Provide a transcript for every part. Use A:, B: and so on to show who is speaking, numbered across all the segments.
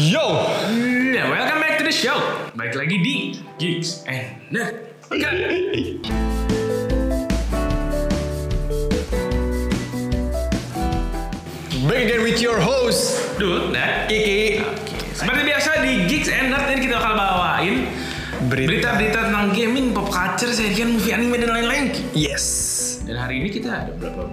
A: Yo,
B: Yeah, Nah, welcome back to the show. Baik lagi di Geeks and Nerd.
A: back again with your host
B: Dut dan
A: Kiki.
B: nah, seperti biasa di Geeks and Nerd ini kita bakal bawain
A: Berita.
B: berita-berita tentang gaming, pop culture, serial, movie, anime dan lain-lain.
A: Yes.
B: Dan hari ini kita ada berapa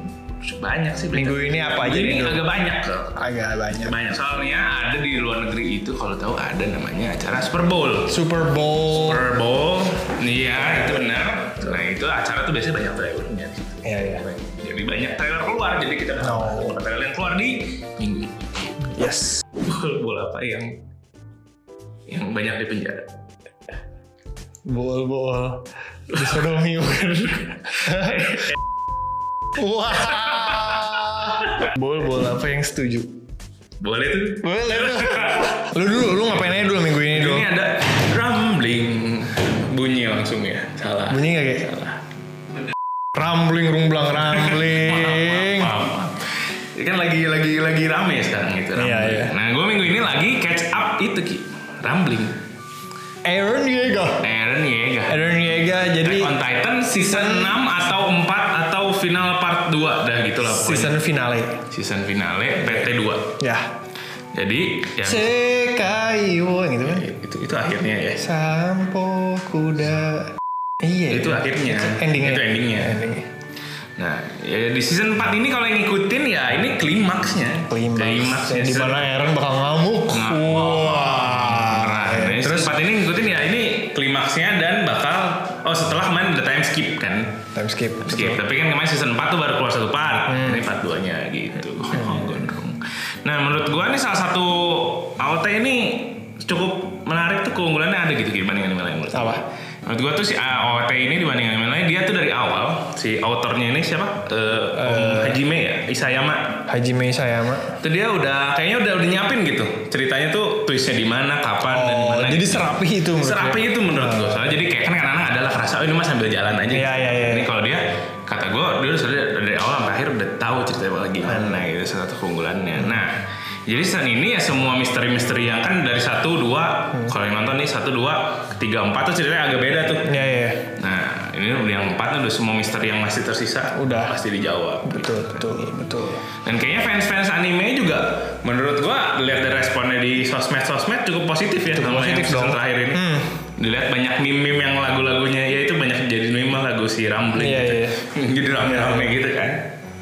B: banyak sih berita.
A: Minggu ini apa aja gitu? nih,
B: Minggu ini
A: Dut?
B: agak banyak.
A: Agak banyak.
B: Banyak soalnya ada di luar negeri itu kalau tahu ada namanya acara Super Bowl.
A: Super Bowl.
B: Super Bowl, iya itu benar. Nah itu acara tuh biasanya banyak trailernya gitu.
A: Iya, iya.
B: Jadi banyak trailer keluar, jadi kita bakal
A: No.
B: bahas trailer yang keluar di minggu ini.
A: Yes.
B: Bola, bola apa yang yang banyak di penjara?
A: Bowl bowl. Disodomi bukan? Wah. Bowl bowl apa yang setuju?
B: Boleh tuh.
A: Boleh. lu dulu, lu ngapain aja dulu minggu ini dulu?
B: Ini ada rumbling bunyi langsung ya. Salah.
A: Bunyi nggak kayak? Rambling, rumblang, rambling.
B: Maaf. Ini kan lagi lagi lagi rame sekarang itu.
A: Iya,
B: rumbling.
A: iya.
B: Nah gue minggu ini lagi catch up itu ki rumbling.
A: Aaron Yeager.
B: Aaron Yeager.
A: Aaron Yeager jadi
B: Attack ya, on Titan season 6 atau 4 atau final part 2 dah gitu lah pokoknya.
A: season finale.
B: Season finale PT 2.
A: Ya.
B: Jadi ya
A: Sekaiwo gitu kan.
B: itu itu akhirnya ya.
A: Sampo kuda. Iya.
B: Itu akhirnya.
A: endingnya.
B: Itu endingnya.
A: Endingnya.
B: Nah, ya di season 4 ini kalau yang ngikutin ya ini klimaksnya.
A: Klimaks.
B: Klimaksnya
A: Di
B: season-
A: mana Aaron bakal ngamuk.
B: Nah, Nah,
A: Wah.
B: dari
A: Terus
B: season 4 ini ngikutin ya ini klimaksnya dan bakal oh setelah main the time skip kan.
A: time skip.
B: Skip. Tapi Hmm. kan kemarin season 4 tuh baru keluar satu part. Ini part 2-nya gitu. Gondrong. Nah, menurut gua nih salah satu AOT ini cukup menarik tuh keunggulannya ada gitu dibanding anime lain menurut gua.
A: Apa?
B: Menurut gua tuh si AOT ini dibanding anime lain dia tuh dari awal si autornya ini siapa? Eh, Om Hajime ya, Isayama.
A: Haji ya, Mei Sayama.
B: Itu dia udah kayaknya udah udah nyiapin gitu. Ceritanya tuh twistnya di mana, kapan dan di
A: Oh,
B: mana. gitu.
A: jadi serapi itu menurut
B: Serapi
A: dia. Ah.
B: itu menurut gue. Soalnya jadi kayak kan kadang-kadang adalah kerasa oh, ini mah sambil jalan aja.
A: Iya, iya, iya.
B: Ini kalau dia kata gue dia udah dari, dari awal sampai akhir udah tahu ceritanya bakal gimana gitu salah satu keunggulannya.
A: Hmm.
B: Nah, jadi saat ini ya semua misteri-misteri yang kan dari satu dua
A: Hmm.
B: kalau yang nonton nih satu dua tiga empat tuh ceritanya agak beda tuh.
A: Iya iya.
B: Nah, ini yang empat udah semua misteri yang masih tersisa
A: Udah.
B: pasti dijawab.
A: Betul betul betul.
B: Dan kayaknya fans-fans anime juga menurut gua lihat dari responnya di sosmed-sosmed cukup positif ya sama
A: positif
B: yang season
A: dong.
B: terakhir ini.
A: Hmm.
B: Dilihat banyak meme-meme yang lagu-lagunya ya itu banyak jadi meme lah lagu si Rambling
A: Iya,
B: gitu.
A: iya.
B: jadi rame-rame gitu kan.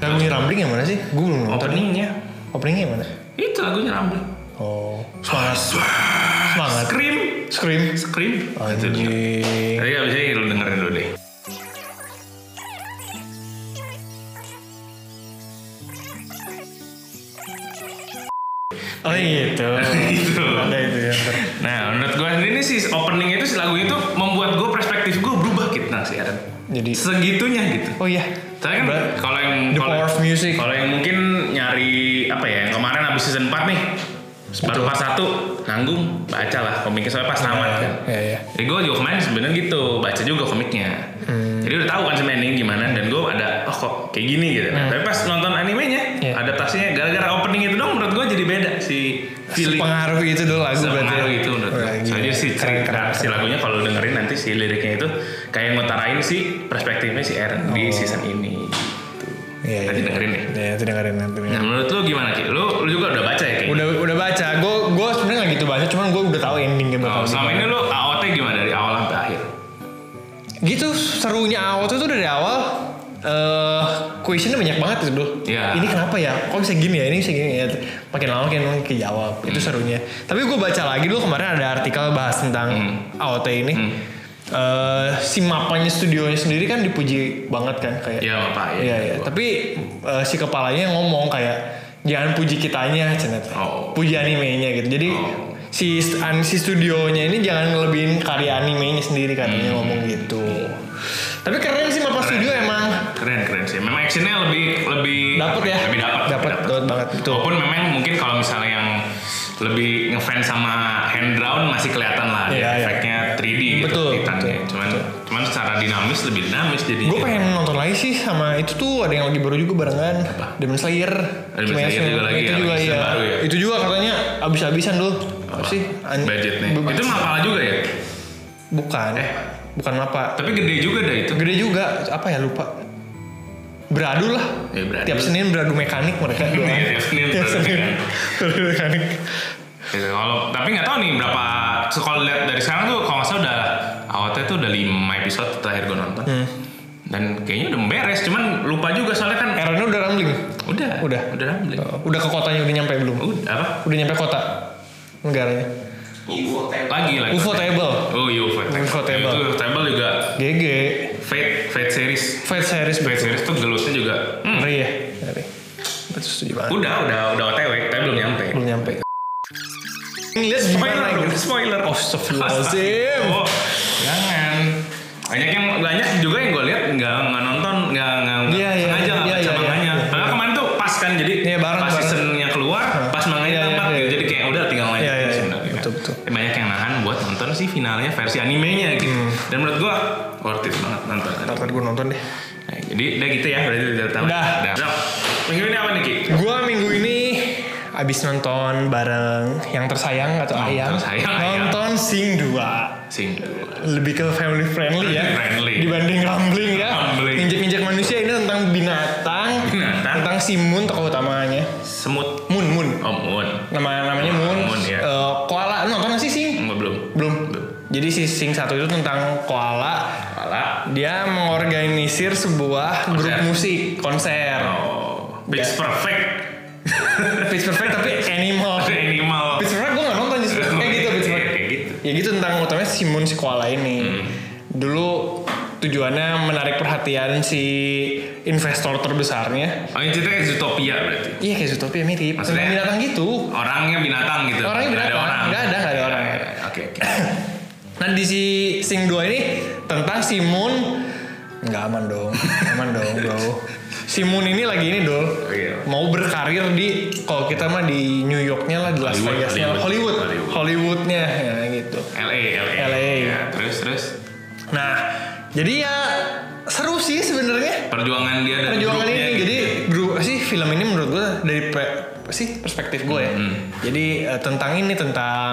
A: Lagunya Rambling yang mana sih? Gue belum nonton.
B: Openingnya
A: Openingnya yang mana?
B: itu lagunya Rambling.
A: Oh, semangat, semangat.
B: Scream,
A: Scream.
B: scream. Oh, itu denger.
A: Anjing.
B: Tadi abisnya lu dengerin dulu deh.
A: Oh gitu.
B: Gitu.
A: Ada itu ya. ntar.
B: Nah, menurut gua sendiri nih si opening itu si lagu itu membuat gua perspektif gua berubah gitu nah si Aaron.
A: Jadi
B: Segitunya gitu.
A: Oh iya.
B: Tapi kan
A: Ber-
B: kalau yang
A: The
B: kalau-
A: Power of Music.
B: Kalau yang mungkin nyari apa ya? Yang kemarin habis season 4 nih. Baru pas satu nanggung baca lah komiknya soalnya pas tamat kan.
A: Iya iya.
B: Jadi gue juga kemarin sebenarnya gitu baca juga komiknya.
A: Hmm.
B: Jadi udah tahu kan sebenarnya ending gimana dan gue ada oh kok kayak gini gitu. Nah, tapi pas nonton animenya
A: Hmm. Iya.
B: adaptasinya gara-gara opening itu dong menurut gue jadi beda si feeling
A: Pengaruh itu dulu lagu berarti. ya. Iya,
B: pengaruh itu menurut gue.
A: Wah, gila.
B: Soalnya si
A: Keren,
B: cerita
A: keren.
B: si lagunya kalau lu dengerin nanti si liriknya itu kayak ngutarain si perspektifnya si Aaron
A: Oh.
B: di season ini.
A: Iya iya.
B: Nanti dengerin ya.
A: Iya, nanti dengerin nanti. dengerin.
B: Nah menurut lu gimana Ki? Lu, lu juga udah baca ya Ki?
A: Udah udah baca. Gue gue sebenarnya nggak gitu baca, cuman gue udah tahu endingnya bakal.
B: Oh, selama ini lu AOT gimana dari awal sampai akhir?
A: Gitu serunya awal tuh, tuh dari awal. Eh, questionnya banyak banget itu dulu.
B: Iya.
A: Ini kenapa ya? Kok bisa gini ya? Ini bisa gini ya? Makin lama makin makin kejawab. Itu
B: Hmm.
A: serunya. Tapi gue baca lagi dulu kemarin ada artikel bahas tentang
B: Hmm.
A: AOT ini. Eh, si mapanya studionya sendiri kan dipuji banget kan kayak.
B: Ya apa ya?
A: Iya iya. Tapi eh, si kepalanya ngomong kayak jangan puji kitanya cenet.
B: Oh.
A: Puji animenya gitu. Jadi
B: Oh.
A: si st- an- si studionya ini jangan ngelebihin karya animenya sendiri
B: Hmm.
A: katanya ngomong gitu. Tapi keren sih Mapa Studio emang
B: Keren keren sih. Memang actionnya lebih lebih
A: dapat
B: apa
A: ya.
B: Lebih dapat.
A: Dapat banget betul.
B: Walaupun memang mungkin kalau misalnya yang lebih ngefans sama hand drawn masih kelihatan lah dia
A: Iya, iya.
B: efeknya 3D gitu
A: Betul,
B: Titannya.
A: betul,
B: cuman cuman secara dinamis lebih dinamis jadi
A: Gue pengen nonton lagi sih sama itu tuh ada yang lagi baru juga barengan Demon Slayer.
B: Demon Slayer
A: Kimetsu.
B: juga lagi
A: itu
B: ya,
A: juga
B: lagi
A: iya.
B: season baru ya.
A: Itu juga katanya abis-abisan dulu. Apa sih? An-
B: budgetnya
A: beban.
B: itu mapala juga ya
A: Bukan.
B: Eh.
A: Bukan apa.
B: tapi gede juga dah itu
A: Gede juga. Apa ya lupa. Beradu lah.
B: Ya, beradu.
A: Tiap Senin beradu mekanik mereka. dua.
B: Iya, tiap
A: Tiap
B: Senin beradu
A: Senin
B: mekanik.
A: beradu mekanik.
B: Gitu, kalau tapi nggak tahu nih berapa sekolah lihat dari sekarang tuh kalau nggak salah udah awalnya tuh udah 5 episode terakhir gue nonton
A: Hmm.
B: dan kayaknya udah beres cuman lupa juga soalnya kan
A: Aaronnya udah rambling.
B: udah
A: Udah. Oh.
B: udah ambil
A: Udah ke kotanya udah nyampe belum?
B: udah apa
A: Udah nyampe kota ya. negaranya.
B: lagi lagi
A: UFO Table.
B: oh iya UFO table
A: UFO table.
B: itu UFO table juga
A: GG.
B: Fate Fate series
A: Fate series
B: Fate series tuh gelutnya juga hmm,
A: Ngeri ya. Ngeri. Itu setuju banget.
B: udah udah udah otw tapi belum nyampe
A: Belum nyampe. Ngeliat
B: spoiler
A: gimana
B: dong,
A: gitu.
B: spoiler
A: Astagfirullahaladzim.
B: Oh, jangan. Banyak yang banyak juga yang gue lihat nggak nggak nonton nggak nggak
A: Iya, iya,
B: sengaja
A: iya,
B: nggak baca
A: iya,
B: manganya.
A: iya, iya.
B: Karena kemarin tuh pas kan jadi
A: Iya, bareng,
B: pas
A: bareng.
B: seasonnya keluar pas manganya
A: Iya, iya,
B: tempat
A: iya,
B: gitu.
A: iya.
B: jadi kayak udah tinggal main
A: Iya, iya,
B: aja
A: iya.
B: sebenarnya.
A: Betul, betul.
B: Eh, Banyak yang nahan buat nonton sih finalnya versi animenya gitu.
A: Hmm.
B: Dan menurut gue worth it banget nonton.
A: Ntar gue nonton deh.
B: Nah, jadi udah gitu ya berarti udah tahu.
A: Udah.
B: Udah. Minggu ini apa nih Ki?
A: Gue minggu ini abis nonton bareng yang tersayang atau
B: Oh,
A: ayang.
B: tersayang,
A: nonton Sing 2.
B: Sing.
A: Lebih ke family friendly ya.
B: Friendly.
A: Dibanding rambling ya.
B: Rambling.
A: Injek-injek manusia ini tentang binatang.
B: Binatang.
A: Tentang si Moon tokoh utamanya.
B: Semut.
A: Moon, Moon.
B: Oh, Moon.
A: Nama namanya Moon.
B: Moon, ya.
A: Eh, koala. Nonton gak sih Sing?
B: Enggak belum.
A: Belum.
B: Belum.
A: Jadi si Sing satu itu tentang koala
B: Kepala.
A: dia mengorganisir sebuah grup
B: Konser.
A: musik konser.
B: Oh,
A: Ya.
B: Pitch Perfect.
A: Pitch Perfect tapi animal.
B: Animal.
A: Pitch Perfect gue gak nonton justru. Kayak gitu Pitch
B: Iya,
A: Perfect.
B: Oh, Kayak gitu.
A: Ya gitu tentang utamanya si Moon si koala
B: Hmm.
A: ini. Dulu tujuannya menarik perhatian si investor terbesarnya.
B: Oh, ini ceritanya Zootopia berarti.
A: Iya kayak Zootopia mirip.
B: Maksudnya?
A: Tentang binatang gitu.
B: Orangnya binatang gitu.
A: Orangnya
B: Nggak
A: binatang.
B: Ada orang.
A: Nggak ada, nggak ada orang.
B: Oke, oke.
A: Nah di si Sing 2 ini tentang si Moon. Nggak aman dong. Aman dong bro. Si Moon ini lagi ini dol.
B: Oh, iya.
A: Mau berkarir di kalau kita mah di New Yorknya lah di Las
B: Hollywood,
A: Vegasnya lah.
B: Hollywood.
A: Hollywood. Hollywoodnya ya gitu.
B: LA, LA.
A: LA.
B: Ya, terus terus
A: Nah, jadi ya seru sih sebenarnya
B: perjuangan dia dan
A: perjuangan
B: grupnya
A: ini.
B: gitu.
A: Jadi grup sih film ini menurut gue dari pe- apa sih perspektif gue ya.
B: Hmm.
A: Jadi eh, tentang ini tentang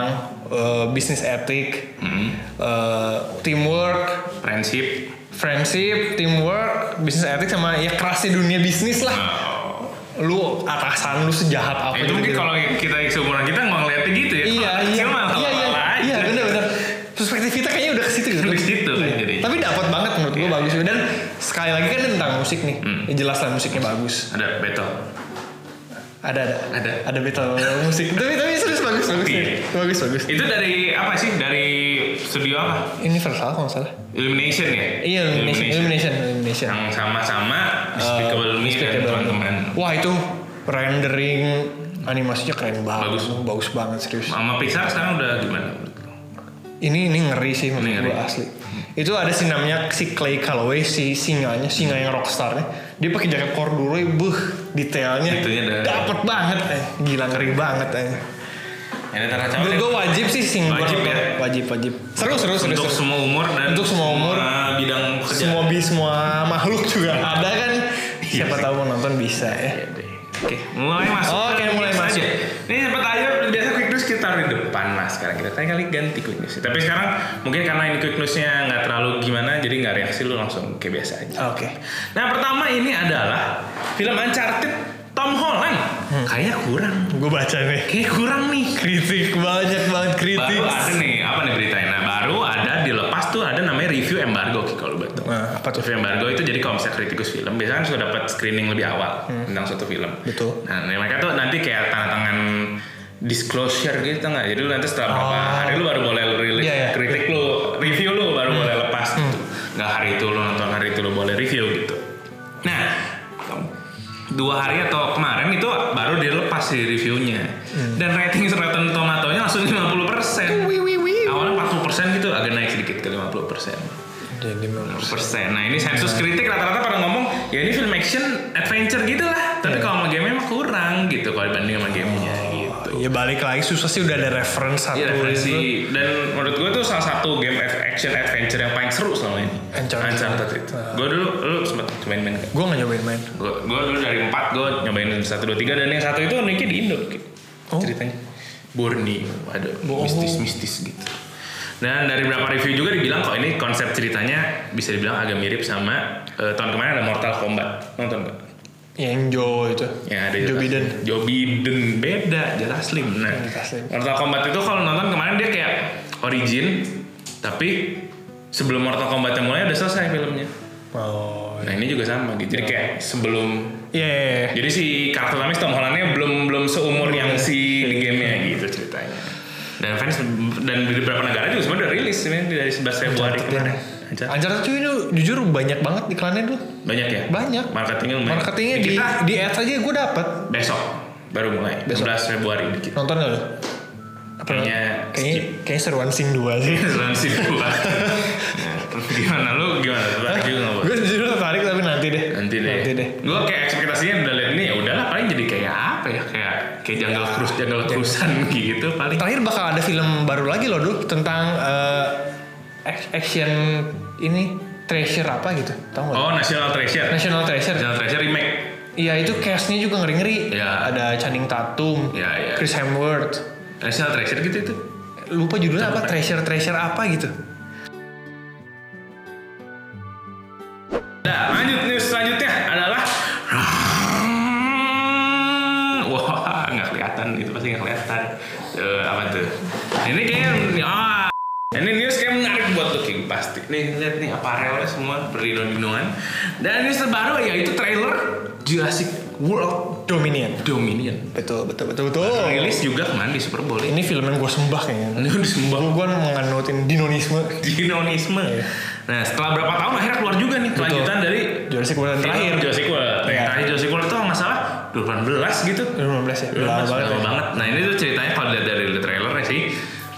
A: eh, bisnis etik,
B: Hmm.
A: eh, teamwork,
B: friendship.
A: friendship, teamwork, bisnis etik sama ya kerasnya dunia bisnis lah.
B: Oh.
A: Lu atasan lu sejahat apa
B: Ya, itu mungkin
A: gitu-gitu.
B: kalau kita yang seumuran kita nggak ngeliatnya gitu ya.
A: Oh, iya
B: Kalau
A: iya
B: kecil mah
A: iya iya
B: apa-apa aja.
A: iya benar-benar perspektif kita kayaknya udah ke situ gitu.
B: Di situ Iya. kan
A: Iya.
B: jadi.
A: Tapi dapat banget menurut gue bagus dan sekali lagi kan tentang musik nih.
B: Hmm.
A: Ya, jelas lah musiknya bagus.
B: Ada battle.
A: Ada ada
B: Ada.
A: ada battle musik. tapi tapi serius bagus bagus
B: Iya.
A: bagus bagus.
B: Itu dari apa sih? Dari studio apa?
A: Universal kalau nggak salah.
B: Illumination ya?
A: Iya Illumination Illumination Illumination.
B: yang sama-sama
A: Eh,
B: Despicable Me dan
A: Despicable Me.
B: teman-teman
A: Wah itu rendering animasinya keren banget.
B: Bagus.
A: bagus banget serius.
B: sama Pixar sekarang udah gimana menurut lo?
A: Ini ini ngeri sih menurut
B: Ini
A: gue
B: ngeri.
A: asli. Itu ada si namanya si Clay Calloway si singanya singa yang rockstarnya. Dia pakai jaket corduroy, buh detailnya
B: Detailnya ada.
A: dapet banget, eh. gila ngeri banget. Eh.
B: Yang ada teracau
A: Menurut
B: deh.
A: gue wajib sih sing gua
B: Wajib
A: nonton.
B: ya?
A: wajib wajib. Seru seru seru.
B: untuk
A: seru.
B: semua umur dan
A: Untuk semua umur.
B: bidang kerja
A: Semua bi semua makhluk juga ada kan.
B: Iya.
A: Siapa tahu mau nonton bisa ya.
B: Oke, mulai masuk.
A: Oke, mulai
B: Biasa
A: masuk.
B: Aja. Ini sempat aja biasa quick news kita taruh di depan mas. Sekarang kita tadi kali ganti quick news. Tapi sekarang mungkin karena ini quick newsnya nggak terlalu gimana, jadi nggak reaksi lu langsung kayak biasa aja.
A: Oke.
B: Nah pertama ini adalah film Uncharted Tom Holland.
A: Hmm.
B: Kayaknya kurang.
A: Gue baca nih.
B: Kayak kurang nih.
A: Kritik banyak banget kritik.
B: Baru ada nih, apa nih beritanya? Nah, baru ada dilepas tuh ada namanya review embargo Ki, kalau betul.
A: Nah, apa tuh?
B: Review embargo itu jadi kalau misalnya kritikus film biasanya kan suka dapat screening lebih awal tentang suatu film.
A: Hmm. Betul.
B: Nah, nih, mereka tuh nanti kayak tanda tangan disclosure gitu nggak? Jadi lu nanti setelah berapa
A: Oh.
B: hari lu baru boleh rilis
A: Iya, Hmm. iya.
B: kritik lu, review lu baru boleh lepas gitu. Nggak hari itu lu nonton hari itu lu boleh review gitu. Nah, dua hari atau kemarin itu baru dilepas di reviewnya dan rating Rotten Tomatoes-nya langsung 50
A: Hmm. Wih wih wih.
B: awalnya 40 gitu agak naik sedikit ke 50 persen
A: Jadi memang
B: nah ini sensus kritik rata-rata pada ngomong ya ini film action adventure gitu lah tapi kalau sama game-nya mah kurang gitu kalau dibanding sama gamenya gitu
A: Ya balik lagi susah sih udah ada reference satu
B: Iya
A: itu.
B: referensi dan menurut gue tuh salah satu game ad- action adventure yang paling seru selama ini
A: Uncharted.
B: itu gue dulu lu sempet main main
A: Gue gak nyobain main.
B: gue gue dulu dari empat gue nyobain satu dua tiga dan yang satu itu uniknya di Indo gitu,
A: Oh.
B: ceritanya Borneo ada mistis-mistis gitu dan dari beberapa review juga dibilang kok ini konsep ceritanya bisa dibilang agak mirip sama eh, tahun kemarin ada Mortal Kombat nonton nggak?
A: Yang Joe itu.
B: Ya, ada
A: Joe
B: Joe
A: Biden. Hmm,
B: Joe Biden beda, Joe Taslim. Nah,
A: Joe Taslim.
B: Mortal Kombat itu kalau nonton kemarin dia kayak origin, tapi sebelum Mortal Kombat yang mulai udah selesai filmnya.
A: Oh.
B: Nah ini juga sama gitu. Jadi kayak sebelum,
A: Iya. iya, iya.
B: jadi si karakter utamanya si Tom Hollandnya belum belum seumur yang si di gamenya gitu ceritanya. Dan fans dan di beberapa negara juga sebenarnya udah rilis sebenarnya dari 11 Februari kemarin. Aja.
A: Anjar tuh ini jujur banyak banget iklannya dulu.
B: Banyak ya?
A: Banyak.
B: Marketingnya lumayan.
A: Marketingnya di
B: kita
A: di ads aja gue dapat.
B: besok baru mulai.
A: Besok.
B: 11 Februari dikit.
A: Nonton gak lu? Apa lu?
B: Kayaknya
A: kayaknya kayaknya seruan sing dua sih.
B: Asuransi dua. Nah, terus gimana lu gimana? Tertarik juga nggak, Bos?
A: gue jujur tertarik tapi nanti deh.
B: Nanti deh.
A: Nanti deh.
B: Gue kayak ekspektasinya udah liat nih, ya udahlah paling jadi kayak apa ya? Kayak kayak jungle cruise, jungle cruisean gitu paling.
A: Terakhir bakal ada film baru lagi loh dulu tentang eh, ac- action ini treasure apa gitu, tau gak?
B: Oh, National Treasure.
A: National Treasure.
B: National Treasure remake.
A: Iya itu castnya juga ngeri-ngeri.
B: Iya.
A: Ada Channing Tatum,
B: Iya, iya.
A: Chris Hemsworth.
B: National Treasure gitu itu.
A: Lupa judulnya apa? Treasure Treasure apa gitu.
B: Nah, lanjut news selanjutnya adalah Wah, nggak kelihatan itu pasti nggak kelihatan. Eh, apa tuh? Ini kayaknya ah, ini news kayak menarik buat lu King pasti. Nih lihat nih aparelnya semua berinon-inongan. Dan news terbaru yaitu trailer Jurassic World
A: Dominion.
B: Dominion.
A: Betul betul betul betul.
B: Rilis juga kemarin di Super Bowl ini.
A: Ini film yang gue sembah kayaknya.
B: Ini udah sembah
A: Gue menganutin dinonisme.
B: dinonisme. Nah, setelah berapa tahun akhirnya keluar juga nih kelanjutan dari
A: Jurassic World yang terakhir.
B: terakhir Jurassic World.
A: Iya.
B: Yang terakhir Jurassic World itu kalau nggak salah 18 gitu.
A: 2015 ya. Udah
B: Lama
A: lama banget.
B: banget,
A: ya.
B: Nah ini tuh ceritanya kalau dilihat dari trailernya sih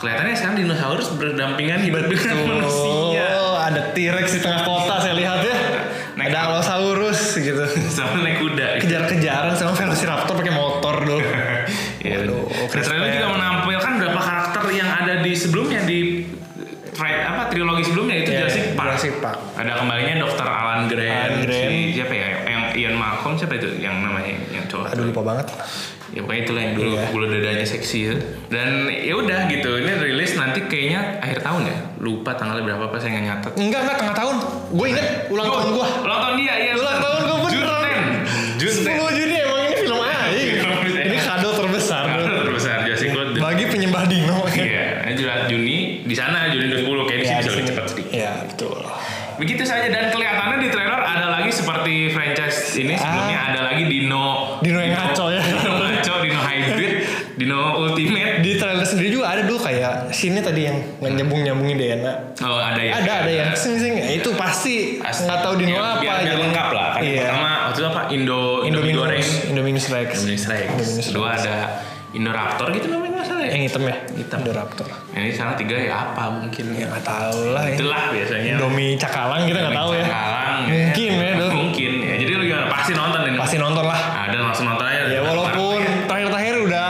B: kelihatannya sekarang dinosaurus berdampingan hidup dengan manusia.
A: Oh, ada T-Rex di tengah kota saya lihat ya.
B: Naik
A: ada Allosaurus gitu.
B: Sama naik kuda. gitu.
A: Kejar-kejaran sama Velociraptor pakai motor dulu.
B: Iya.
A: Waduh,
B: Nah,
A: Chris
B: trailer
A: Pratt.
B: juga menampilkan beberapa karakter yang ada di sebelumnya di tri- apa trilogi sebelumnya itu
A: Iya,
B: Jurassic Park.
A: Jurassic Park.
B: Ada kembalinya Dr. Alan Grant,
A: Alan Grant.
B: si siapa ya? Yang Ian Malcolm siapa itu yang namanya yang cowok?
A: Aduh lupa banget.
B: ya pokoknya itulah yang dulu
A: Iya.
B: bulu dadanya seksi ya dan ya udah gitu ini rilis nanti kayaknya akhir tahun ya lupa tanggalnya berapa pas saya nggak nyatet
A: Enggak enggak tengah tahun. Gue inget
B: Nah.
A: ulang tahun gue.
B: ulang tahun dia ya
A: Ulang tahun gue beneran.
B: Junten Junten
A: 10 Juni emang ini film aing. ini kado terbesar.
B: terbesar Jurassic World
A: Bagi penyembah dino.
B: Nah. Iya, ini Jura- Juni di sana Juni 2010 kayaknya
A: Ya,
B: sih
A: di
B: bisa lebih
A: sini.
B: cepat sedikit.
A: Iya, betul.
B: Begitu saja dan kelihatannya di trailer ada lagi seperti franchise ini sebelumnya ada lagi
A: Ah.
B: Dino
A: Dino yang ngaco ya.
B: Dino ngaco, Dino hybrid, Dino ultimate.
A: Di trailer sendiri juga ada dulu kayak sini tadi yang nyambung-nyambungin DNA.
B: Oh, ada ya.
A: Ada ada yang sing sing itu pasti
B: Pasti.
A: nggak tahu dino
B: Ya,
A: apa.
B: biar, biar
A: gitu.
B: lengkap lah kan
A: Iya.
B: pertama waktu itu apa Indo Indomie goreng
A: Indominus, Indominus Rex.
B: Indominus Rex
A: Indominus
B: kedua ada Indoraptor gitu namanya nggak salah ya
A: Yang hitam ya?
B: Hitam.
A: Indoraptor.
B: Nah, ini salah tiga ya apa mungkin
A: Ya nggak tahu lah ya.
B: itulah biasanya
A: Indomie cakalang kita nggak tahu ya.
B: Cakalang,
A: Mungkin ya, dulu.
B: mungkin ya jadi lu gimana pasti nonton ini
A: Pasti nonton lah.
B: ada langsung nonton aja
A: Ya walaupun terakhir-terakhir udah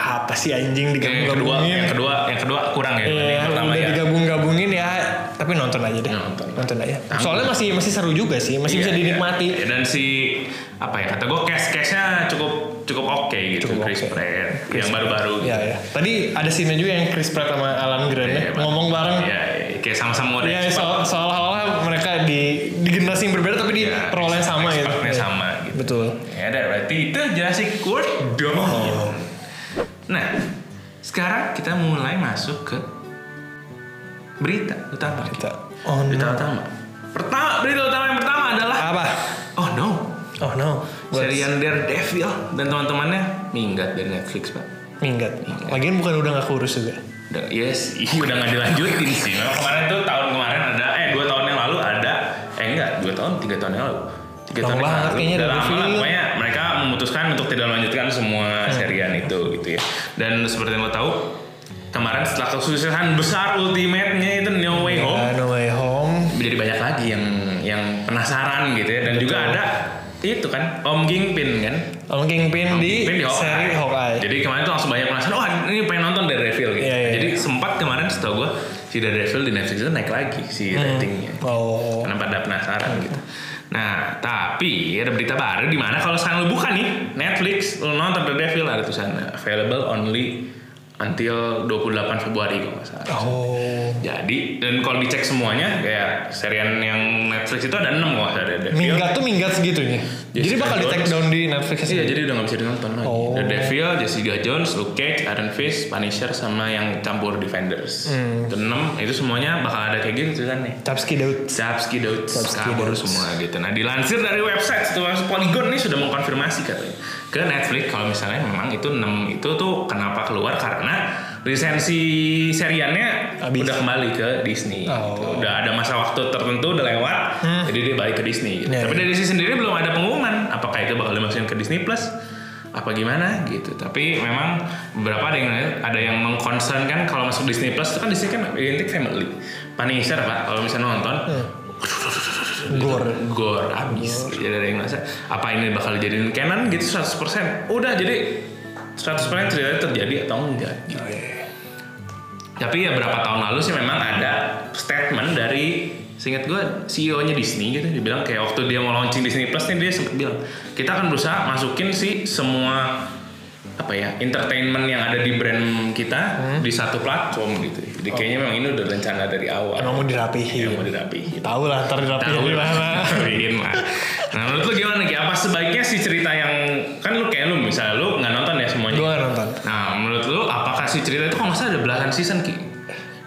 A: ah, apa sih anjing
B: yang kedua yang
A: digabung-gabungin.
B: kedua yang kedua kurang ya dibanding
A: Ya,
B: yang pertama
A: udah
B: ya
A: digabung-gabungin ya, tapi nonton aja deh.
B: Nonton.
A: aja.
B: Tangguh.
A: Soalnya masih masih seru juga sih, masih
B: Iya,
A: bisa
B: iya.
A: dinikmati.
B: Iya, dan si apa ya kata gue cash cashnya cukup cukup oke gitu
A: Cukup
B: Chris
A: oke.
B: Pratt yang baru-baru gitu.
A: Iya, ya. Tadi ada scene juga yang Chris Pratt sama Alan Grant ya,
B: Iya,
A: ngomong bareng.
B: Iya, iya, kayak sama-sama udah
A: Iya, soal seolah-olah mereka di di generasi yang berbeda tapi di
B: Iya,
A: role yang sama gitu.
B: expertnya
A: Iya.
B: sama gitu.
A: Betul.
B: Ya ada berarti itu Jurassic World dong. Nah, sekarang kita mulai masuk ke berita utama.
A: Kita
B: kita.
A: oh
B: Berita
A: no.
B: utama. Pertama, berita utama yang pertama adalah
A: Apa?
B: Oh no.
A: Oh no. Buat
B: Serial Daredevil dan teman-temannya minggat dari Netflix, Pak.
A: minggat. Lagian bukan udah nggak kurus juga.
B: Dan yes, iya udah nggak dilanjutin sih. Memang kemarin tuh tahun kemarin ada, eh dua tahun yang lalu ada, eh enggak dua tahun, tiga tahun yang lalu. Tiga
A: Lama
B: tahun yang
A: banget
B: lalu.
A: kayaknya
B: udah
A: dari
B: lama lah.
A: film.
B: Pokoknya mereka memutuskan untuk tidak melanjutkan semua serian itu gitu ya. Dan seperti yang lo tahu, kemarin setelah kesuksesan besar ultimate-nya itu No Way Home,
A: Ya, no way home.
B: jadi banyak lagi yang yang penasaran gitu ya. Dan juga ada itu kan Om Kingpin kan
A: Om Kingpin di,
B: Kingpin
A: seri Hawkeye.
B: Jadi kemarin tuh langsung banyak penasaran, oh ini pengen nonton Daredevil gitu.
A: Iya, iya,
B: Jadi sempat kemarin setahu gue si Daredevil di Netflix itu naik lagi
A: Hmm.
B: si ratingnya.
A: Oh.
B: Karena pada penasaran gitu. Nah, tapi ada berita baru di mana kalau sekarang lu buka nih Netflix, lu nonton Daredevil ada tulisan available only until 28 Februari kalau nggak salah.
A: Oh.
B: Jadi dan kalau dicek semuanya kayak serian yang Netflix itu ada 6 kalau nggak salah ada Devil.
A: Minggat tuh minggat segitunya.
B: Jessica
A: jadi bakal di take
B: Jones.
A: down di Netflix
B: Iya
A: sendiri.
B: jadi udah nggak bisa ditonton lagi.
A: Oh.
B: The Devil, Jessica Jones, Luke Cage, Iron Fist, Punisher sama yang campur Defenders.
A: Hmm.
B: Itu 6 itu semuanya bakal ada kayak gitu ceritanya.
A: Chapsky Daud.
B: Sapski Daud
A: Sapsky
B: kabur
A: Daud.
B: semua gitu. Nah dilansir dari website tuh Polygon ini sudah mengkonfirmasi katanya ke Netflix kalau misalnya memang itu 6 itu tuh kenapa keluar karena lisensi seriannya
A: Habis.
B: udah kembali ke Disney.
A: Oh. Hmm.
B: gitu. Udah ada masa waktu tertentu udah lewat, jadi dia balik ke Disney. gitu.
A: Ya,
B: Tapi
A: ya.
B: dari Disney sendiri belum ada pengumuman apakah itu bakal dimasukin ke Disney Plus apa gimana gitu tapi memang beberapa ada yang ada yang mengkonsernkan kalau masuk Disney Plus itu kan Disney kan identik family Punisher pak kalau misalnya nonton
A: Hmm. Gore.
B: gor habis jadi ada yang ngerasa apa ini bakal jadiin canon gitu 100% udah jadi 100% ceritanya terjadi atau enggak gitu.
A: Oh, iya.
B: tapi ya berapa tahun lalu sih memang ada statement dari seingat gue CEO-nya Disney gitu dibilang kayak waktu dia mau launching Disney Plus nih dia sempat bilang kita akan berusaha masukin sih semua apa ya entertainment yang ada di brand kita
A: Hmm?
B: di satu platform gitu jadi kayaknya memang ini udah rencana dari awal
A: Oh. Emang mau dirapihin.
B: yang mau dirapihin
A: Tahu lah ntar dirapihin
B: tahu
A: di
B: lah
A: mana.
B: Tahuin lah nah menurut lu gimana Ki? apa sebaiknya sih cerita yang kan lu kayak lu misalnya lu nggak nonton ya semuanya
A: Gue nonton.
B: nah menurut lu apakah sih cerita itu kalau nggak salah ada belasan season ki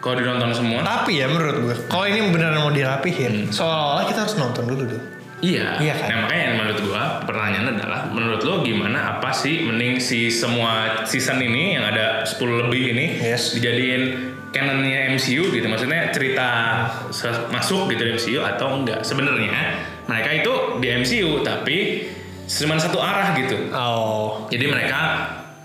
B: kalau dinonton semua
A: Tapi ya menurut gue, kalau ini beneran mau
B: Hmm.
A: dirapihin, seolah-olah kita harus nonton dulu dulu.
B: Iya.
A: Iya kan?
B: Nah makanya yang menurut gua pertanyaannya adalah menurut lo gimana apa sih mending si semua season ini yang ada 10 lebih ini
A: Yes.
B: dijadiin canonnya MCU gitu maksudnya cerita se- masuk gitu di MCU atau enggak sebenarnya mereka itu di MCU tapi cuma satu arah gitu
A: Oh.
B: jadi mereka